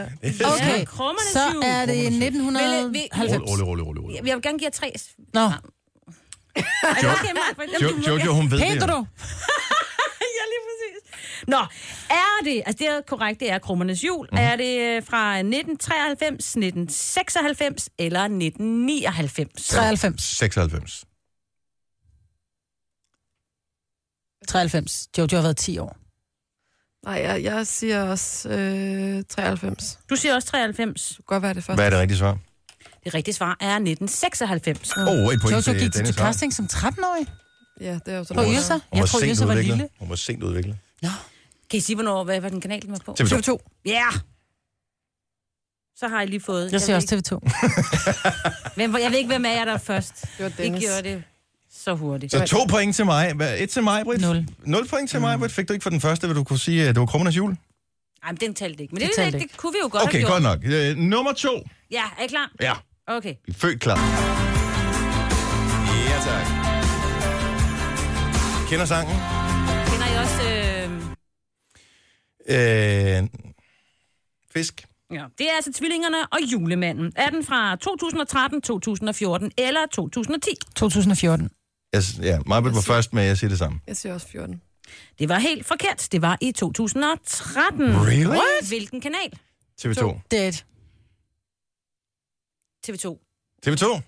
Ja, krummernes
så
jul.
er det
Vil- vil-
1990.
Rolig, rolig, rolig, rolig.
det? Jeg vil gerne give jer tre.
Nå,
Er det okay, Mark? Jamen,
Jo,
du må
jo, jo,
gerne-
hun ved det.
pænt
jo.
du.
Ja, lige præcis. Nå, er det, altså det er korrekt, det er Krummernes Jul.
Mhm.
Mm. Er det øh, fra 1993, 1996 eller 1999?
93.
96.
93. Jojo har været 10 år.
Nej, jeg, jeg siger også øh, 93. Det
Du siger også 93.
kunne godt være det første.
Hvad er det rigtige svar?
Det rigtige svar er 1996.
Åh, oh, et point
Jojo
til
gik til
Dennis Ravn.
casting som 13-årig.
Ja, det er jo
På
sådan.
Yrsa?
Hun
Jeg
var
tror,
sent
Yrsa var
udviklet.
lille.
Hun var sent udviklet.
Kan I sige, hvornår, hvad, hvad den kanal den var på?
TV2.
TV2.
Ja! Yeah! Så har jeg lige fået...
Jeg ser
ved
også TV2.
ikke, hvem, jeg ved ikke, hvem af jer der er først.
Det var
I
Dennis.
gjorde det så hurtigt.
Så to point til mig. Hvad- Et til mig, Britt.
Nul.
Nul point til mig, Britt. Fik du ikke for den første, vil du kunne sige, at det var krummernes jul?
Nej, men den talte ikke. Men
Det
det, det,
talte
det,
ikke.
det kunne vi jo godt
Okay,
have
godt
gjort.
nok. Øh, nummer to.
Ja, er I klar?
Ja,
Okay.
vi er født klar. Ja, tak. Kender sangen?
Kender I også... Øh...
Øh, fisk.
Ja. Det er altså Tvillingerne og Julemanden. Er den fra 2013, 2014 eller 2010?
2014.
Jeg, s- ja, Marbet var først, men jeg siger det samme.
Jeg siger også 14.
Det var helt forkert. Det var i 2013.
Really?
What? Hvilken kanal?
TV2.
Dead.
TV2.
TV2?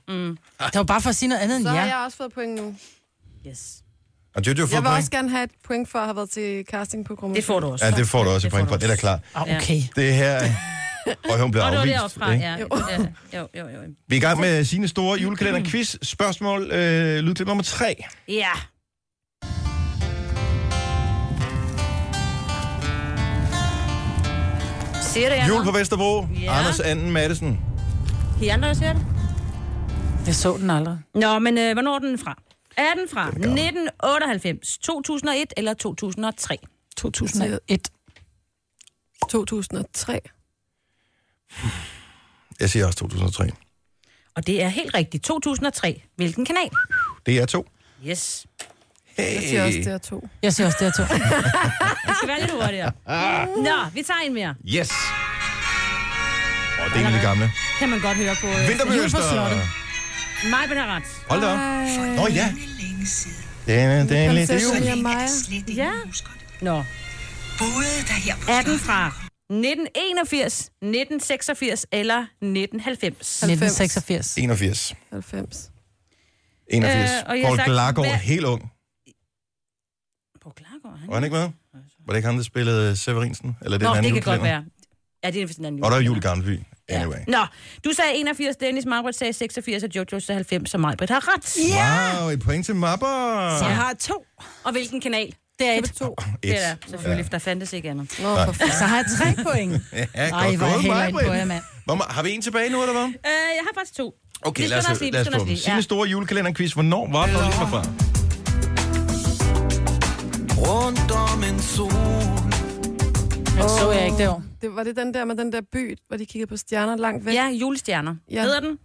Det var bare for at sige noget andet end
Så har
jer.
jeg også fået point nu.
Yes.
Og Jojo får
Jeg vil
point.
også gerne have et point for at have været til casting på Krummen.
Det får du også.
Ja, det får du også
Det
et
får
point
du
for. Det er da
også.
klart.
Ah, okay.
Det her... Og hun blev
Og det var
afvist.
deroppe fra,
ikke?
ja. ja. Jo, jo, jo.
Vi er i gang med sine store julekalenderquiz. Spørgsmål, øh, lydklip nummer tre.
Ja. Ser det, jeg
Jul på Vesterbro.
Ja.
Anders Anden Madsen.
I andre, der ser det?
Jeg så den aldrig.
Nå, men øh, hvornår er den fra? Er den fra 1998, 2001 eller 2003?
2001.
2003.
Jeg siger også 2003.
Og det er helt rigtigt. 2003. Hvilken kanal?
Det er to.
Yes.
Hey.
Jeg siger også, det er to.
Jeg ser også det her to.
Det skal være lidt hurtigere.
Ah.
Nå, vi tager en mere.
Yes. Og det er en af de gamle.
Kan man godt høre på. øh,
Vinterbøster.
slottet.
Mig har ret.
Hold da op. Nå ja. Det er, det er en lidt det er
Prinsesse
jul.
Maja.
Ja. Nå. Er den fra 1981, 1986 eller 1990?
1986.
81.
90.
81.
Øh, og
Øh,
jeg har
Paul
sagt,
Glargaard,
hvad-
helt ung.
På Klargaard, han.
Var han ikke med? Var det ikke ham, der spillede Severinsen? Eller det er
Nå,
en anden
det kan godt
julekalender?
være. Ja, det er vist en anden
Og der er
julekalender.
jul i Gamleby. Anyway.
Ja. Nå, du sagde 81, Dennis Margaret sagde 86, og Jojo sagde 90, så Majbrit har ret. Yeah.
Wow, et point til Mapper.
Så jeg har to.
Og hvilken kanal?
Det er et.
To.
Et.
Det er der, selvfølgelig, ja. der fandtes ikke andet.
Nå, for f-
Så har jeg tre point.
Ja,
Ej,
godt
hvor er
gået,
jeg
Maj-Brit.
på jer, mand.
Hvor ma- Har vi en tilbage nu, eller hvad?
Øh, jeg har faktisk to.
Okay,
Vi
lad os,
skynder os lige, vi
lad os
skynder
få
os
dem.
lige,
Sine
ja.
store julekalenderquiz. Hvornår var det, lige fra?
Rundt om en sol.
Den så jeg ikke det år.
det var det den der med den der by, hvor de kiggede på stjerner langt væk.
Ja, julestjerner.
Ja.
Ja. Hedder den?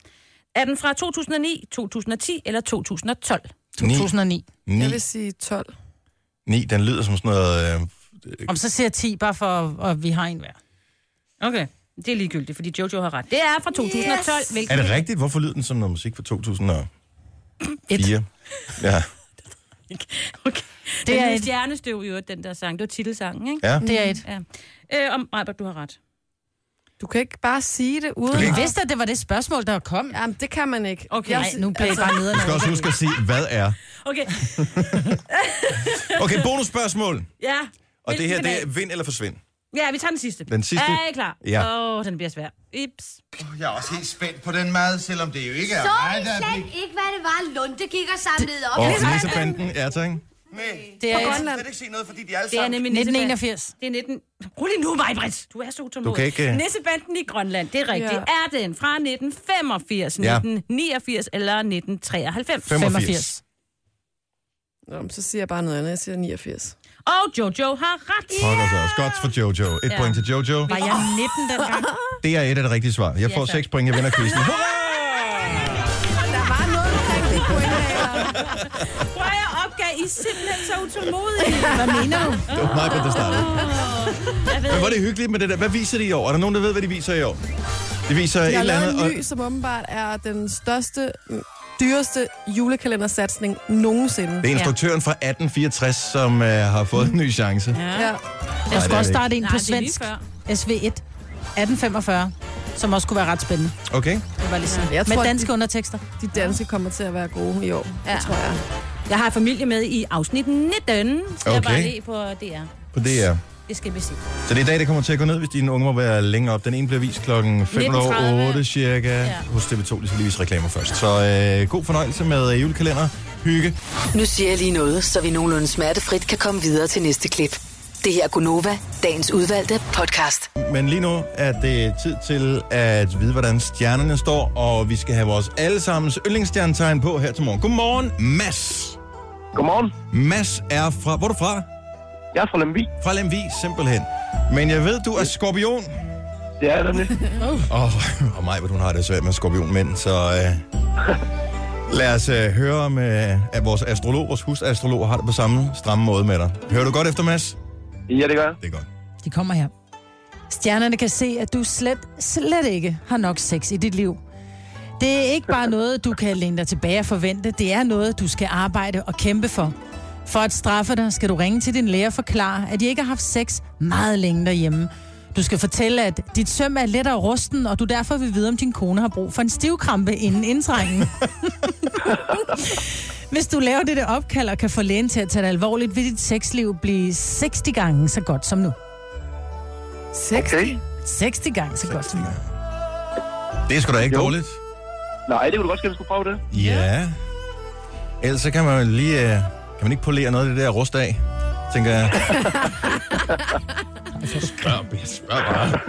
Er den fra 2009, 2010 eller 2012?
2009.
9.
Jeg vil sige 12.
9, den lyder som sådan noget... Øh,
Om så siger jeg 10, bare for, at vi har en hver.
Okay. Det er ligegyldigt, fordi Jojo har ret. Det er fra 2012, yes.
er
hvilken...
det rigtigt? Hvorfor lyder den som noget musik fra 2004? Ja,
Okay.
Det
Det
er
er
et.
stjernestøv i øvrigt, den der sang. Det var titelsangen, ikke?
ja.
Det er et.
Ja. Øh, om Majbert, du har ret.
Du kan ikke bare sige det uden...
kan
Jeg vidste, at det var det spørgsmål, der kom.
Jamen, det kan man ikke.
Okay.
Jeg
Nej,
si-
nu blev jeg bare nede.
Du skal også huske at sige, hvad er.
Okay,
Okay, bonusspørgsmål.
ja.
Og det her,
Hvilken
det er
kanal?
vind eller forsvind.
Ja, vi tager den sidste.
Den sidste?
Er I klar?
Ja.
Åh, oh, den bliver svær. Ips.
Jeg er også helt spændt på den mad, selvom det jo ikke er
Så
mig,
I
der er
slet ikke, hvad det var, Lunde gik og samlede op.
Og Nissebanden, ja tak.
Nej,
Det er et.
jeg kan ikke se noget, fordi de er alle
Det er
sammen...
nemlig Nissebanden.
1981.
Det er 19... Rul lige nu, Majbrit. Du er så utålmodig.
Du kan ikke, øh.
Nissebanden i Grønland, det er rigtigt.
Ja.
Ja. Er den fra 1985,
Ja.
1989 eller 1993?
85.
Nå, men så siger jeg bare noget andet. Jeg siger 89.
Og Jojo har ret.
Hold os også. Godt for Jojo. Et
Ja.
point til Jojo.
Var jeg 19 dengang?
Det er et af det rigtige svar. Jeg får
tak.
6 point, jeg vinder quizzen.
Der var noget rigtigt point her.
Prøv at jeg opgav, I er simpelthen så utålmodige.
Hvad mener du?
Det var meget godt, det startede. Men var det hyggeligt med det der. Hvad viser de i år? Er der nogen, der ved, hvad de viser i år? De viser et
Jeg har
eller
lavet
andet.
en ny, som åbenbart er den største, mm, dyreste julekalendersatsning nogensinde.
Det er instruktøren fra 1864, som øh, har fået en ny chance.
Ja.
Jeg
det er
skulle også
det
starte en
Nej,
på
det er lige
svensk.
før.
SV1. 1845. Som også kunne være ret spændende.
Okay?
Det var lige sådan.
Jeg tror,
Med
at
danske undertekster.
De danske kommer til at være gode i år, ja. det tror jeg.
Jeg har familie med i afsnit 19. Skal jeg
Okay.
bare lige på DR.
På DR.
Det skal vi sige.
Så det er i dag, det kommer til at gå ned, hvis dine unge må være længere op. Den ene bliver vist klokken 5.08
19.30.
cirka ja.
Ja.
hos TV2. De skal lige vise reklamer først. Så øh, god fornøjelse med øh, julekalender. Hygge.
Nu siger jeg lige noget, så vi nogenlunde smertefrit kan komme videre til næste klip. Det her er Gunova, dagens udvalgte podcast.
Men lige nu er det tid til at vide, hvordan stjernerne står, og vi skal have vores allesammens yndlingsstjernetegn på her til morgen. Godmorgen, Mads. Godmorgen. Mads er fra... Hvor er du fra? Jeg er fra Lemvi. Fra Lemvi, simpelthen. Men jeg ved, du er skorpion. Det er det. Åh, oh, og mig, hun har det svært med skorpionmænd, så... Øh, lad os øh, høre om, øh, at vores astrolog, vores husastrolog, har det på samme stramme måde med dig. Hører du godt efter, Mads? Ja, det gør Det er godt.
De kommer her. Stjernerne kan se, at du slet, slet ikke har nok sex i dit liv. Det er ikke bare noget, du kan læne dig tilbage og forvente. Det er noget, du skal arbejde og kæmpe for. For at straffe dig, skal du ringe til din læge og forklare, at de ikke har haft sex meget længe derhjemme. Du skal fortælle, at dit søm er lettere rusten, og du derfor vil vide, om din kone har brug for en stivkrampe inden indtrængen. Hvis du laver dette opkald og kan få lægen til at tage det alvorligt, vil dit sexliv blive 60 gange så godt som nu.
60?
Okay. 60 gange så er godt som nu.
Det er sgu da ikke jo. dårligt.
Nej, det kunne du godt ske, at du skulle prøve det.
Ja. Ellers så kan man jo lige... øh, Kan man ikke polere noget af det der rust af? Tænker jeg. spørg, spørg bare.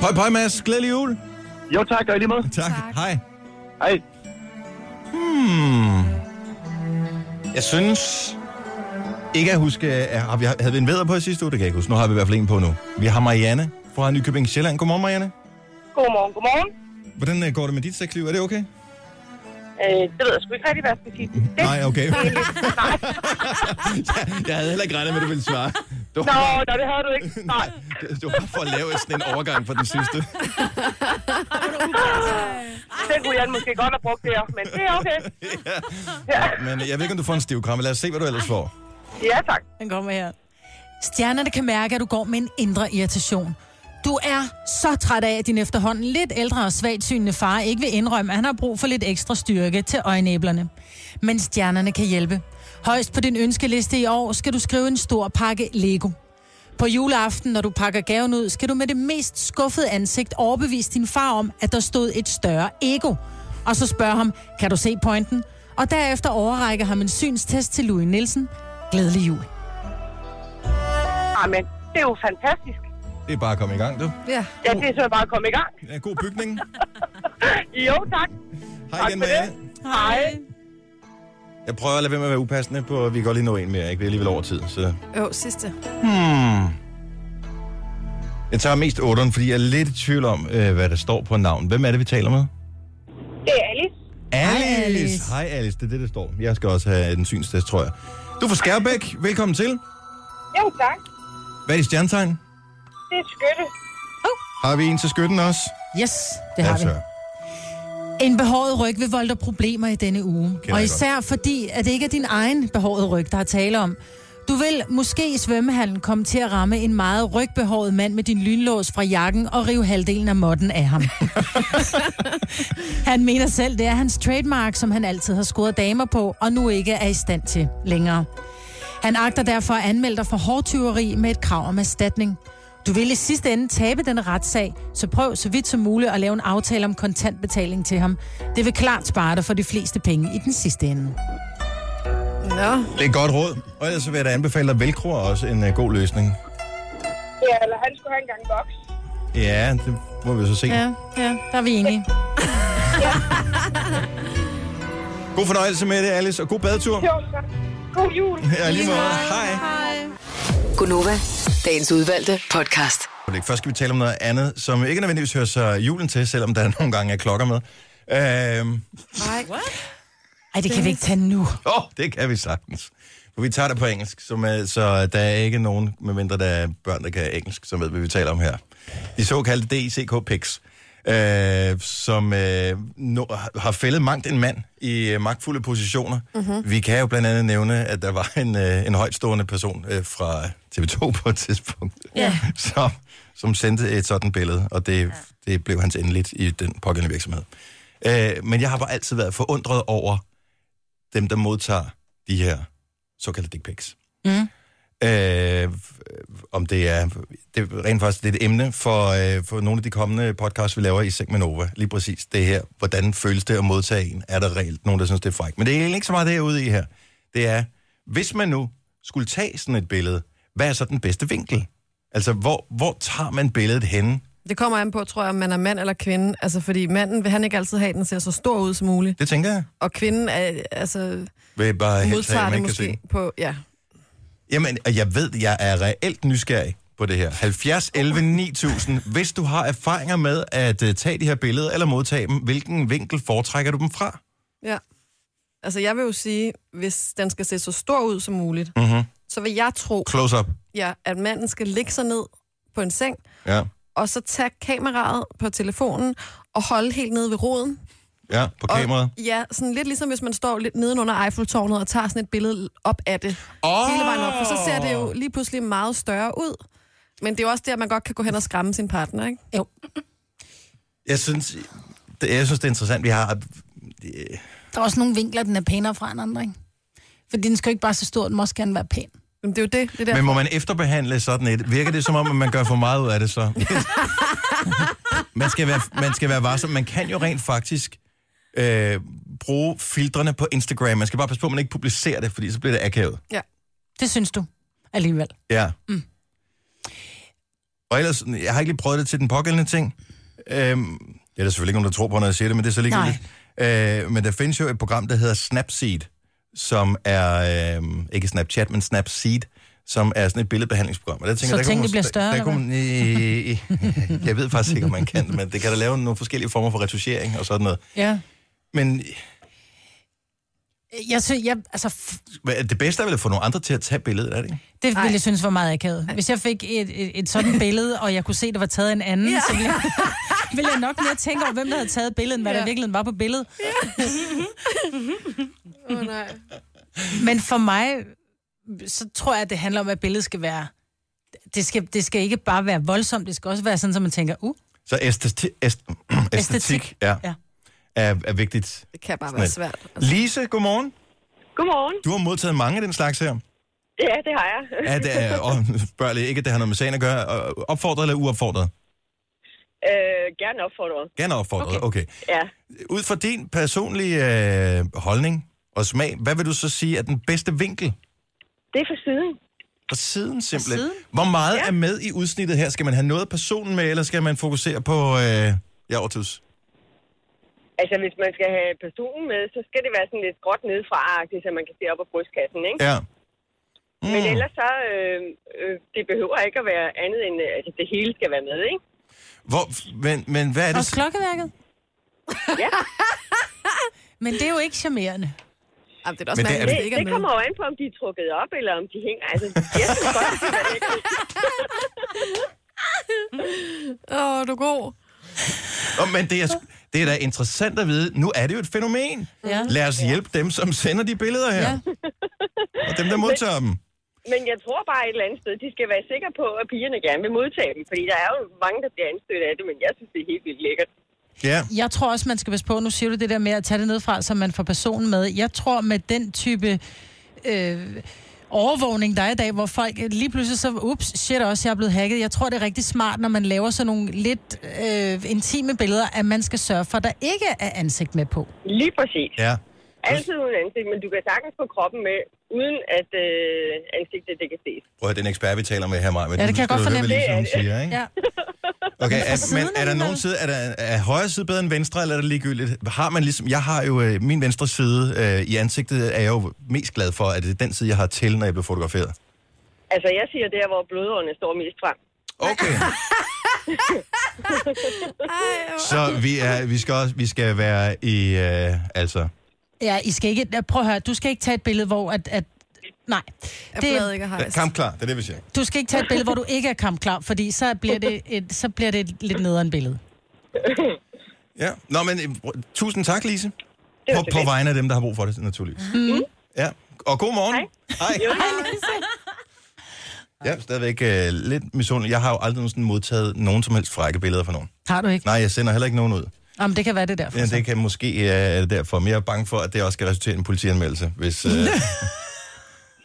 Pøj, pøj, Mads. Glædelig jul. Jo, tak. Og lige måde. Tak. tak. Hej. Hej. Hmm. Jeg synes... Ikke at huske... øh, Har vi, havde vi en vædder på i sidste uge? Det kan jeg ikke huske. Nu har vi i hvert fald en på nu. Vi har Marianne fra Nykøbing Sjælland. Godmorgen, Marianne.
Godmorgen, godmorgen.
Hvordan øh, går det med dit sexliv? Er det okay?
Øh, det ved jeg sgu ikke rigtig, hvad jeg skal sige. Det.
Nej, okay.
Nej.
Jeg havde heller ikke regnet med, at du ville svare. Du
Nå,
var,
nå, det havde du ikke. Nej.
du var for at lave sådan en overgang for den sidste.
Den kunne jeg måske godt have brugt der, men det er okay.
Men jeg ved ikke, om du får en stiv kram. Lad os se, hvad du ellers får.
Ja, tak.
Den kommer her. Stjernerne kan mærke, at du går med en indre irritation. Du er så træt af, at din efterhånden lidt ældre og svagsynende far ikke vil indrømme, at han har brug for lidt ekstra styrke til øjenæblerne. Men stjernerne kan hjælpe. Højst på din ønskeliste i år skal du skrive en stor pakke Lego. På juleaften, når du pakker gaven ud, skal du med det mest skuffede ansigt overbevise din far om, at der stod et større ego. Og så spørge ham, kan du se pointen? Og derefter overrække ham en synstest til Louis Nielsen. Glædelig jul.
Amen. Det er jo fantastisk.
Det er bare at komme i gang, du.
Ja.
Ja, det er så bare at komme i gang.
Ja, god bygning.
jo, tak.
Hej
tak
igen,
for det. Hej.
Jeg prøver at lade være med at være upassende på, vi kan godt lige nå en mere, ikke? Vi er alligevel over tid, så...
Jo, sidste.
Hmm. Jeg tager mest 8'eren, fordi jeg er lidt i tvivl om, øh, hvad der står på navn. Hvem er det, vi taler med?
Det er Alice.
Alice. Alice. Hej Alice, det er det, der står. Jeg skal også have en synstest, tror jeg. Du er fra Skærbæk. Velkommen til.
Jo, tak.
Hvad er dit stjernetegn?
Det er skytte.
Har vi en til skytten også?
Yes, det har vi. En behåret ryg vil volde dig problemer i denne uge.
jeg
og
godt.
især fordi, at det ikke er din egen behårede ryg, der er tale om. Du vil måske i svømmehallen komme til at ramme en meget rygbehåret mand med din lynlås fra jakken og rive halvdelen af modden af ham. han mener selv, det er hans trademark, som han altid har skåret damer på, og nu ikke er i stand til længere. Han agter derfor at anmelde dig for hårdtyveri med et krav om erstatning. Du vil i sidste ende tabe den retssag, så prøv så vidt som muligt at lave en aftale om kontantbetaling til ham. Det vil klart spare dig for de fleste penge i den sidste ende.
Nå.
Det er et godt råd. Og ellers så vil jeg da anbefale dig velcro er også en uh, god løsning.
Ja, eller han skulle have en gang boks.
Ja, det må vi så se. Ja.
ja, der er vi enige.
God fornøjelse med det, Alice, og god badetur.
Jo, tak. God jul.
Ja, lige måde. Hej.
Gunova, dagens udvalgte podcast.
Øjeblik. Først skal vi tale om noget andet, som ikke nødvendigvis hører sig julen til, selvom der nogle gange er klokker med. Øhm,
Nej.
Ej, det kan vi ikke tage nu.
Åh, oh, det kan vi sagtens. For vi tager det på engelsk, som er, så der er ikke nogen, medmindre der er børn, der kan engelsk, som ved, hvad vi taler om her. De såkaldte E DICK PICs, øh, som øh, no, har fældet mangt en mand i øh, magtfulde positioner. Mm-hmm. Vi kan jo blandt andet nævne, at der var en, øh, en højtstående person øh, fra TV2 på et tidspunkt,
Ja.
som, som sendte et sådan billede, og det, ja. det blev hans endeligt i den pågældende virksomhed. Øh, men jeg har bare altid været forundret over, dem, der modtager de her såkaldte dick pics.
Mm.
Øh, f- om det er, det er rent faktisk det er et emne for, øh, for nogle af de kommende podcasts, vi laver i Seng med Nova. Lige præcis det her. Hvordan føles det at modtage en? Er der reelt nogen, der synes, det er frækt? Men det er egentlig ikke så meget det, jeg er ude i her. Det er, hvis man nu skulle tage sådan et billede, hvad er så den bedste vinkel? Altså, hvor, hvor tager man billedet henne?
Det kommer an på, tror jeg, om man er mand eller kvinde. Altså, fordi manden vil han ikke altid have, at den ser så stor ud som muligt.
Det tænker jeg.
Og kvinden er, altså,
Vil jeg bare helst have,
modtager
at
det
man kan se.
måske på... Ja.
Jamen, og jeg ved, jeg er reelt nysgerrig på det her. 70 11 9000. Hvis du har erfaringer med at øh, tage de her billeder eller modtage dem, hvilken vinkel foretrækker du dem fra?
ja. Altså, jeg vil jo sige, hvis den skal se så stor ud som muligt,
Mm-hmm.
så vil jeg tro,
Close up.
ja, at manden skal ligge sig ned på en seng,
Ja,
og så tage kameraet på telefonen og holde helt nede ved roden.
ja på kameraet.
Og, ja, sådan lidt ligesom hvis man står lidt nedenunder Eiffeltårnet og tager sådan et billede op af det.
Oh!
Hele vejen op, for så ser det jo lige pludselig meget større ud. Men det er jo også der, man godt kan gå hen og skræmme sin partner, ikke?
Jo.
Jeg synes, det, jeg synes, det er interessant. Vi har... Det,
Der er også nogle vinkler, den er pænere fra end andre, ikke? Fordi den skal jo ikke bare se stor, den må også gerne være pæn.
Jamen, det er jo det. det
men må man efterbehandle sådan et? Virker det som om, at man gør for meget ud af det så? man, skal være, man skal være varsom. Man kan jo rent faktisk øh, bruge filtrene på Instagram. Man skal bare passe på, at man ikke publicerer det, fordi så bliver det akavet.
Ja.
Det synes du alligevel.
Ja. Mm. Og ellers, jeg har ikke lige prøvet det til den pågældende ting. Øhm, det er der selvfølgelig ikke nogen, der tror på, når jeg siger det, men det er så ligegyldigt. Øh, men der findes jo et program, der hedder Snapseed, som er, øh, ikke Snapchat, men Snapseed, som er sådan et billedbehandlingsprogram. Og der
Så
der kunne
tingene
man-
bliver
der-
større,
Der,
eller
kunne man, øh, jeg ved faktisk ikke, om man kan, men det kan da lave nogle forskellige former for retuschering og sådan noget.
Ja.
Men
Jeg synes, jeg, altså, f-
hvad- det bedste er vel at få nogle andre til at tage billedet, er det ikke?
det ville jeg synes var meget akavet. Hvis jeg fik et, et, et sådan billede, og jeg kunne se, det var taget af en anden, ja. så ville jeg, ville jeg nok mere tænke over, hvem der havde taget billedet, end hvad ja. der
Ja.
virkelig var på billedet. Ja.
Åh, oh, nej.
Men for mig, så tror jeg, at det handler om, at billedet skal være... Det skal, det skal ikke bare være voldsomt, det skal også være sådan, at man tænker, uh,
Så æsteti, æst, æstetik, æstetik ja,
ja.
Er, er vigtigt.
Det kan bare
Sådan
være
et-
svært.
Lise, godmorgen.
Godmorgen.
Du har modtaget mange af den slags her.
Ja, det har jeg.
Er det, og spørg lige ikke, at det har noget med sagen at gøre. Øh, Opfordret eller uopfordret?
øh, gerne opfordret.
Gerne opfordret, okay.
Ja.
okay. Ud fra din personlige øh, holdning og smag, hvad vil du så sige er den bedste vinkel?
Det er for siden.
Fra siden simpelthen.
siden?
Hvor meget ja. er med i udsnittet her? Skal man have noget af personen med, eller skal man fokusere på... Øh, ja, Ortus.
Altså, hvis man skal have personen med, så skal det være sådan lidt gråt nedefra, så man kan se op af brystkassen, ikke?
Ja.
Mm. Men ellers så, øh, øh, det behøver ikke at være andet end, øh, altså det hele skal være med, ikke?
Hvor, men, men hvad er det?
også klokkeværket.
Ja.
Men det er jo ikke charmerende.
Jamen, det er
også Men det mærkeligt, er- at det
det,
ikke
det,
er
det
med.
kommer jo an på, om de er trukket op, eller om de hænger. Altså, jeg synes godt, det er ikke.
Åh, oh, du er god.
Nå, men det er, sgu- det er da interessant at vide. Nu er det jo et fænomen.
Ja.
Lad os hjælpe dem, som sender de billeder her. Og dem, der modtager dem.
Men jeg tror bare et eller andet sted, de skal være sikre på, at pigerne gerne vil modtage dem. Fordi der er jo mange, der bliver anstødt af det, men jeg synes, det er helt vildt lækkert.
Ja.
Jeg tror også, man skal passe på, nu siger du det der med at tage det ned fra, så man får personen med. Jeg tror med den type øh, overvågning, der er i dag, hvor folk lige pludselig så, ups, shit også, jeg er blevet hacket. Jeg tror, det er rigtig smart, når man laver sådan nogle lidt øh, intime billeder, at man skal sørge for, at der ikke er ansigt med på.
Lige præcis.
Ja.
Altid uden ansigt, men du kan sagtens få kroppen med, uden at øh, ansigtet det kan ses.
Prøv at høre, den ekspert, vi taler med her, Maja.
Ja, det kan jeg godt fornemme.
Lige, som ligesom hun
Det er altså, det.
siger, ikke?
Ja.
Okay,
Men fra
er,
siden
men er der nogen
alligevel.
side, er, der, er højre side bedre end venstre, eller er det ligegyldigt? Har man ligesom, jeg har jo øh, min venstre side øh, i ansigtet, er jeg jo mest glad for, at det er den side, jeg har til, når jeg bliver fotograferet.
Altså, jeg siger der, hvor blodårene står mest frem.
Okay. Så vi, er, vi, skal, også, vi skal være i, øh, altså,
Ja, I skal ikke, øh, prøv at høre, du skal ikke tage et billede, hvor at, at nej. Det,
kampklar, det er det, vi siger.
du skal ikke tage et billede, hvor du ikke er kampklar, fordi så bliver det et, så bliver det et lidt nederen billede.
Ja, nå, men øh, tusind tak, Lise.
Det var
På,
så
på
lidt.
vegne af dem, der har brug for det, naturligvis. Mm-hmm.
Mm.
Ja, og god morgen. Hej. Hej. Jeg er stadigvæk øh, lidt misundelig. Jeg har jo aldrig sådan modtaget nogen som helst frække billeder fra nogen.
Har du ikke?
Nej, jeg sender heller ikke nogen ud.
Jamen, det kan være det derfor.
Ja, det kan måske øh, er det derfor. Men jeg er bange for, at det også skal resultere i en politianmeldelse, hvis... Øh,
Du gerne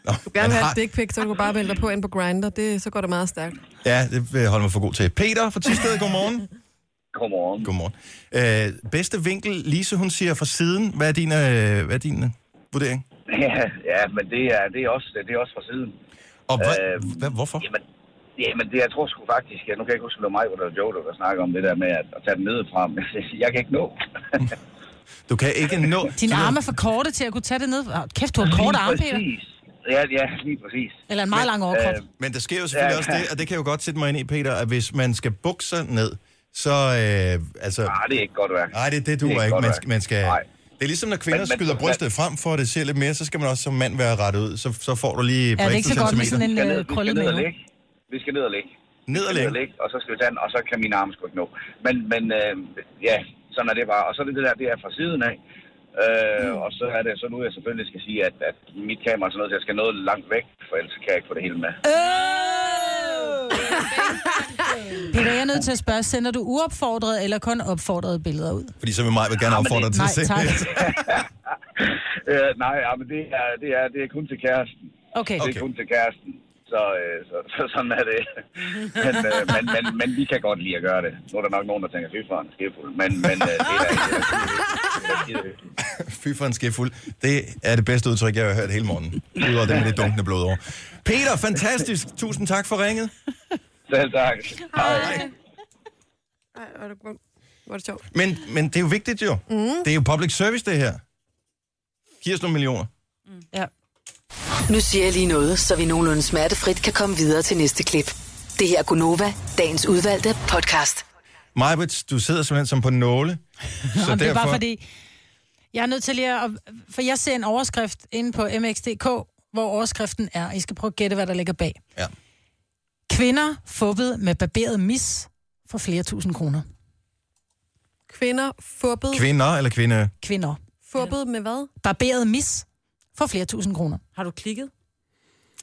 man
vil have
har-
et dick pic, så du kan bare melde dig på ind på Grindr. Det, så går det meget stærkt.
Ja, det vil jeg holde mig for god til. Peter fra Tisted, godmorgen. Godmorgen. Godmorgen. Øh, bedste vinkel, Lise, hun siger fra siden. Hvad er din, øh, hvad er din øh, vurdering?
Ja, ja men det er, det, er også, det er også fra siden.
Og hvad, øh, hvad, hvorfor?
Jamen, jamen det, jeg tror sgu faktisk, jeg, nu kan jeg ikke huske, om det var mig eller Joe, der snakker om det der med at, at tage den nedefra, men jeg kan ikke nå.
Du kan ikke nå...
Dine arme er for korte til at kunne tage det ned. Åh, Kæft, du har korte arme, Peter.
Ja, ja, lige præcis.
Eller en meget lang overkrop.
Øh, men der sker jo selvfølgelig ja, også det, og det kan jeg jo godt sætte mig ind i, Peter, at hvis man skal bukke sig ned, så... Øh, altså, nej,
Ah, det er ikke godt værk.
Nej, det,
Det er
det duer
ikke
det ikke.
godt
Man
værk.
skal, man skal, det er ligesom, når kvinder
Men-
men, skyder
men-
brystet frem for, at det ser lidt mere, så skal man også som mand være rettet ud. Så, så får du lige et par
Ja, det er
ekstra
ikke så godt med
centimeter.
sådan en, øh, Vi skal ned- vi skal krøllet ned og mave. ligge. Vi skal ned og ligge.
Ned og ligge?
ligge, og så skal vi tage den, og så kan min arm sgu ikke nå. Men, men øh, ja, sådan er det bare. Og så er det det der, det er fra siden af. Øh, Og så er det så nu, jeg selvfølgelig skal sige, at, at mit kamera er sådan noget, så jeg skal noget langt væk, for ellers kan jeg ikke få det hele med.
Øh! Peter, jeg er nødt til at spørge, sender du uopfordrede eller kun opfordrede billeder ud?
Fordi så vil mig vil gerne
Ah, men
opfordre dig
det-
til at
nej,
se
tak.
det.
Øh, nej, ja, men det er, det, er, det er kun til kæresten.
Okay.
Det er kun til kæresten. Så, øh, så, så sådan er det. men, øh, men, men, men vi kan godt lide at gøre det. Nu er der nok nogen, der tænker, fy for en skæfuld. Men, men øh, det er
Fy for en skefuld. Det er det bedste udtryk, jeg har hørt hele morgenen. Udover det med det dunkende blod over. Peter, fantastisk. Tusind tak for ringet.
Selv tak.
Hej. Ej, hvor er det, hvor- hvor er det sjovt.
Men, men det er jo vigtigt jo. Mm. Det er jo public service, det her. Giv os nogle millioner.
Nu siger jeg lige noget, så vi nogenlunde smertefrit kan komme videre til næste klip. Det her er Gunova, dagens udvalgte podcast.
Majbrit, du sidder simpelthen som på nåle. Så
Jamen, Det er bare fordi, jeg er nødt til lige at... For jeg ser en overskrift inde på mx.dk, hvor overskriften er, I skal prøve at gætte, hvad der ligger bag.
Ja.
Kvinder fubbet med barberet mis for flere tusind kroner.
Kvinder fubbet,
Kvinder eller kvinde?
Kvinder.
fubbet med hvad?
Barberet mis for flere tusind kroner.
Har du klikket?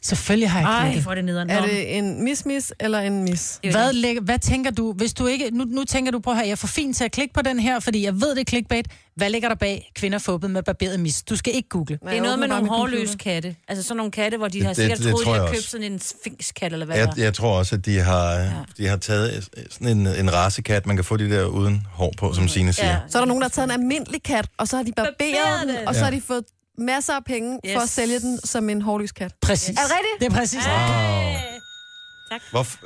Selvfølgelig har jeg
Ej,
klikket.
hvor er det nederen.
Er
Nå.
det en mis-mis eller en mis?
Hvad, lægger, hvad tænker du, hvis du ikke... Nu, nu tænker du på her, jeg er for fin til at klikke på den her, fordi jeg ved, det er clickbait. Hvad ligger der bag kvinder fubbet med barberet mis? Du skal ikke google.
Det er noget med nogle hårløse katte. Altså sådan nogle katte, hvor de har
Det-
sikkert
det- det
troet,
tror
de
jeg
har købt
også.
sådan en sfinkskat, eller hvad
Jeg,
det er.
jeg tror også, at de har, de har taget øh, sådan en, en racekat, man kan få de der uden hår på,
Mm.
som Signe siger.
Så er der nogen, der har taget en almindelig kat, og så har de barberet den, og så har de fået masser af penge yes. for at
Yes.
sælge den som en hårløs kat.
Præcis.
Er det rigtigt?
Det er præcis.
Wow. Hvorfor?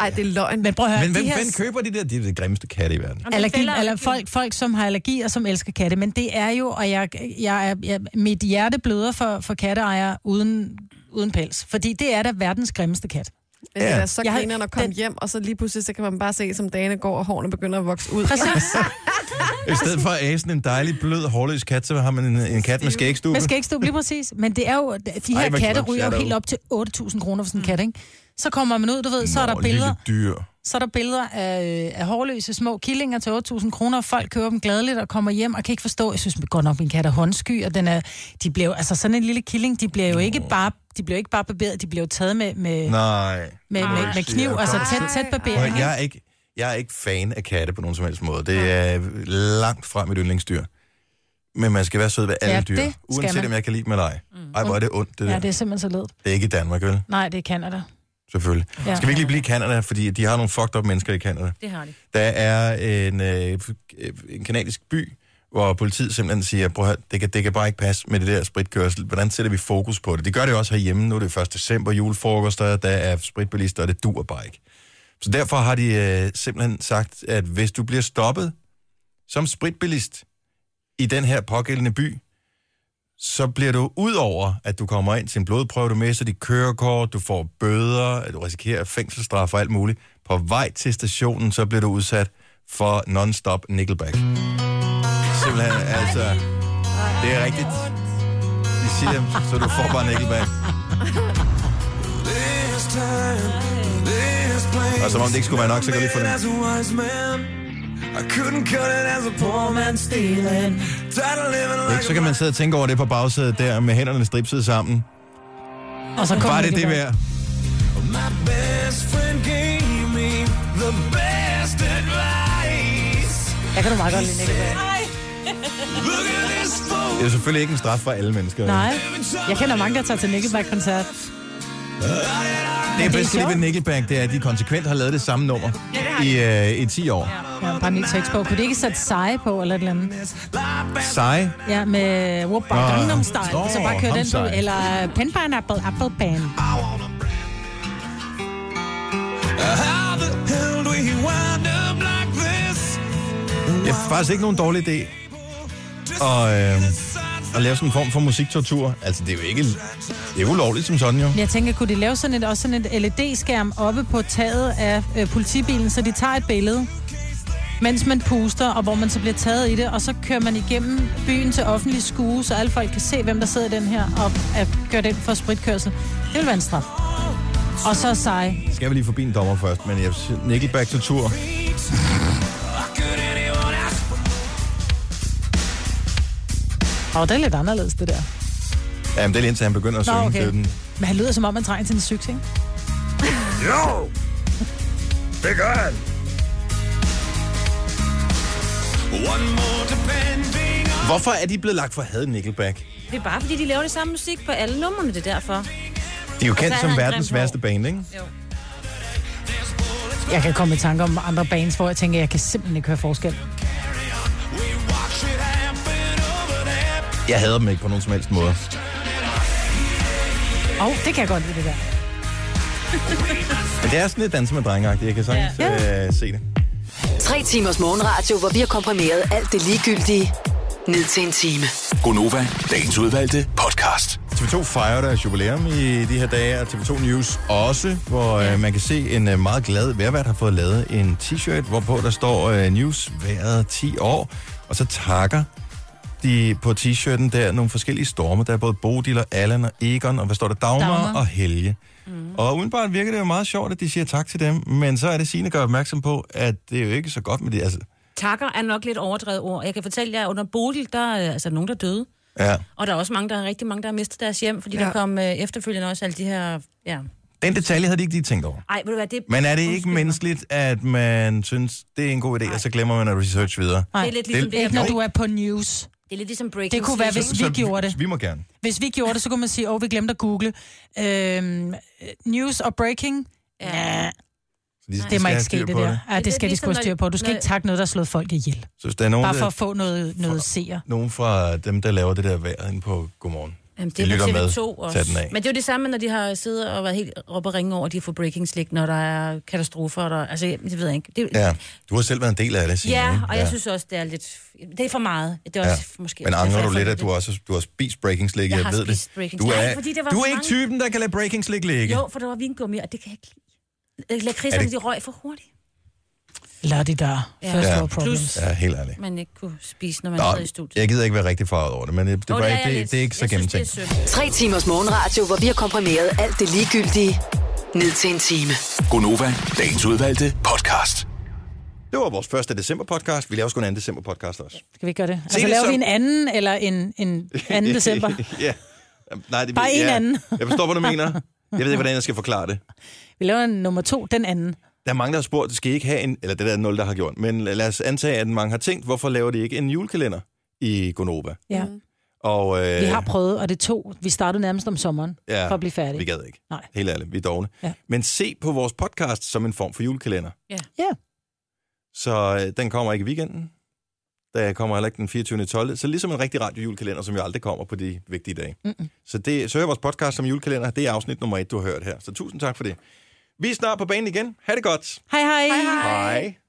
Ej, det er løgn.
Men prøv at høre,
Men hvem,
de her...
hvem køber de der? De er det grimmeste katte i verden.
Allergi, eller folk, folk, som har allergi og som elsker katte. Men det er jo, og jeg, jeg, er- jeg, mit hjerte bløder for, for katteejere uden, uden pels. Fordi det er da verdens grimmeste kat.
Men det er da så
Jeg har-
griner, når komme hjem, og så lige pludselig, så kan man bare se, som dagene går, og hårene begynder at vokse ud. Præcis.
I stedet for at æsen en dejlig, blød, hårløs kat, så har man en, en kat med skægstube.
Man skal ikke stå lige præcis. Men det er jo, de her
Ej,
Ej,
hvor
katte
knap,
ryger
jeg er
jo helt
derude.
op til 8.000 kroner for sådan en kat, ikke? Så kommer man ud, du ved, så er der
Nå,
billeder,
Lille dyr.
så er der billeder af, af hårløse små killinger til 8.000 kroner, og folk køber dem gladeligt og kommer hjem og kan ikke forstå, jeg synes godt nok, min kat er håndsky, og den er, de bliver, jo- altså sådan en lille killing, de bliver jo ikke bare, de bliver jo ikke bare barberet, de bliver jo taget med, med,
Nej.
med, med, med kniv, altså tæt, tæt barberet.
Prøv, jeg, er ikke, jeg er ikke fan af katte på nogen som helst måde. Det er langt fra mit yndlingsdyr. Men man skal være sød ved alle
Ja,
dyr,
det skal
uanset
man. Mm.
om jeg kan lide dem eller ej. Ej, hvor er det ondt, det
Ja,
der.
det er simpelthen så ledt.
Det er ikke i Danmark, vel?
Nej, det er Canada.
Selvfølgelig.
Ja.
Skal vi ikke lige blive i Canada, fordi de har nogle fucked up mennesker i Canada.
Det har de.
Der er en, øh, en kanadisk by, hvor politiet simpelthen siger, prøv at høre, det kan, det kan bare ikke passe med det der spritkørsel. Hvordan sætter vi fokus på det? Det gør det jo også herhjemme. Nu er det 1. december, julefrokoster, der er spritbilister, og det dur bare ikke. Så derfor har de øh, simpelthen sagt, at hvis du bliver stoppet som spritbilist i den her pågældende by, så bliver du ud over, at du kommer ind til en blodprøve, du mister dit kørekort, du får bøder, at du risikerer fængselsstraf og alt muligt. På vej til stationen, så bliver du udsat for non-stop Nickelback. Simpelthen, altså, det er rigtigt. De siger, så du får bare Nickelback.
Og Altså, som om det ikke skulle være nok, så kan jeg lige få
Ikke? Så kan man sidde og tænke over det på bagsædet der, med hænderne stripset sammen.
Og så kommer
Var det det
Nickelback.
værd?
My best friend gave me the best advice.
Jeg kan du meget godt lide
Nickelback.
Det er jo selvfølgelig ikke en straf for alle mennesker.
Nej. Jeg kender mange, der tager til Nickelback-koncert.
Det
er
er bedst lige
sjovt.
ved Nickelback, det er, at de konsekvent har lavet det samme nummer i, øh, i 10 år.
Ja, bare en ny tekst på. Kunne de ikke sætte seje på eller et eller andet?
Sej.
Ja, med Whoop
Nå,
Bar Gangnam Style.
nå,
så bare køre den på.
Gangnam Style.
Eller Pen Pineapple, Apple Pan.
How the hell do we wind up like this?
Det er faktisk ikke nogen dårlig idé og, øh, at lave sådan en form for musiktortur. Altså, det er jo ikke... Det er jo ulovligt som sådan, jo.
Men Jeg tænker, kunne de lave sådan et, også sådan et LED-skærm oppe på taget af øh, politibilen, så de tager et billede, mens man puster, og hvor man så bliver taget i det, og så kører man igennem byen til offentlig skue, så alle folk kan se, hvem der sidder i den her, og at gør den for spritkørsel. Det vil være en straf. Og så sej.
Skal vi lige forbi en dommer først, men jeg synes, Nickelback-tortur.
Og det er lidt anderledes, det der.
Jamen, det er lige indtil han begynder at synge.
Nå, okay.
Det er den.
Men han lyder, som om han trænger til en sygt, ikke?
Jo! Det gør han. One more depending
Hvorfor er de blevet lagt for had, Nickelback?
Det er bare, fordi de laver det samme musik på alle numrene, det er derfor.
De er jo
Og så
kendt
er
som
han
verdens
grimt
værste band, ikke?
Jeg kan komme i tanke om andre bands, hvor jeg tænker, jeg kan simpelthen ikke høre forskel.
Jeg hader dem ikke på nogen som helst måde.
Åh, oh, det kan jeg godt lide, det der.
Men det er sådan lidt danse med drengagtigt. Jeg kan sagtens ja. øh, se det.
Tre timers morgenradio, hvor vi har komprimeret alt det ligegyldige ned til en time.
Gonova, dagens udvalgte podcast.
TV2 fejrer deres jubilæum i de her dage, og TV2 News også, hvor øh, man kan se en øh, meget glad værvært har fået lavet en t-shirt, hvorpå der står øh, News været 10 år, og så takker de på t-shirten der nogle forskellige storme. Der er både Bodil og Allan og Egon, og hvad står der? Dagmar,
Dagmar.
Dagmar. og Helge. Mm. Og udenbart virker det jo meget sjovt, at de siger tak til dem, men så er det Signe gør opmærksom på, at det er jo ikke så godt med det. Altså,
Takker er nok lidt overdrevet ord. Jeg kan fortælle jer, at under Bodil, der er øh, altså nogen, der døde.
ja.
Og der er også mange, der er rigtig mange, der har mistet deres hjem, fordi
Ja.
ja. der kom øh, efterfølgende også alle de her... Ja.
Den detalje havde de ikke lige tænkt over.
Ej, ved du hvad, det
Men er det ikke menneskeligt, at man synes, det er en god idé, og så glemmer man at research videre?
Nej.
Det er lidt ligesom det,
Ikke når
Jo.
du er på news.
Det er lidt ligesom breaking
Det kunne være, hvis vi gjorde det.
Vi må gerne.
Hvis vi gjorde det, så kunne man sige, åh, oh, vi glemte at google. Øhm, news og breaking. Ja.
de skal
Det må
have
ikke
styr
ske, det
på
der.
det.
Ja, det ligesom skal de sgu have styr på. Du skal ikke takke noget, der har slået folk ihjel.
Så hvis der er nogen,
Bare
der-
for at få noget, noget seer.
Nogen fra dem, der laver det der vejr inde på Godmorgen.
Jamen,
De
det er på
lytter med.
TV2 også.
Tag den af.
Men det er jo det samme, når de har siddet og været helt op og ringe over, at de har fået breaking slik, når der er katastrofer. og Der, altså, det ved jeg ikke. Det,
Ja, du har selv været en del af det, Signe,
ja,
ikke?
og jeg synes også, det er lidt... Det er for meget. Det er
Ja.
også ja. måske...
Men angrer
derfor,
du
jeg
lidt,
får
at du også du har spist breaking slik?
Jeg
Jeg,
har
ved
spist
det.
breaking
Du
slik.
er,
Nej, fordi der var
du er
for
ikke
mange.
typen, der kan lade breaking slik ligge.
Jo, for der var vingummi, og det kan jeg ikke lide. Øh,
Er
Lakridserne,
det-
det... de røg for hurtigt.
Lad det der.
Ja.
First
Ja.
world problems.
Ja, helt ærligt.
Man ikke kunne spise, når man
Nå,
sidder i studiet.
jeg gider ikke være rigtig farvet over det, men det, det,
Åh,
var
det er
ikke,
jeg
det,
lidt.
det er ikke så
Jeg synes, det er
gennemtænkt.
Tre timers morgenradio, hvor vi har komprimeret alt det ligegyldige ned til en time.
Gonova, dagens udvalgte podcast.
Det var vores første december-podcast. Vi laver sgu en anden december-podcast også.
Skal vi ikke gøre det?
Se
Altså,
det
laver
som-
vi en anden eller en, en 2. december?
ja. Jamen, Nej, det,
Bare en
ja.
anden.
Jeg forstår, hvad du mener. Jeg ved ikke, hvordan jeg skal forklare det.
Vi laver en nummer to, den anden.
Der er mange, der har spurgt, skal I ikke have en... Eller det der er nul, der har gjort. Men lad os antage, at mange har tænkt, hvorfor laver de ikke en julekalender i Gonova?
Ja.
Og, øh,
Vi har prøvet, og det to. Vi startede nærmest om sommeren, for at blive færdige.
Vi gad ikke.
Nej.
Helt ærligt, vi er dogne.
Ja.
Men se på vores podcast som en form for julekalender.
Ja.
ja.
Så øh, den kommer ikke i weekenden. Der kommer heller ikke den 24. 12. Så ligesom en rigtig radiojulekalender, som jo aldrig kommer på de vigtige dage.
Mm-mm.
Så, det, så hør vores podcast som julekalender. Det er afsnit nummer et, du har hørt her. Så tusind tak for det. Vi er snart på banen igen. Ha' det godt.
Hej hej.
Hej.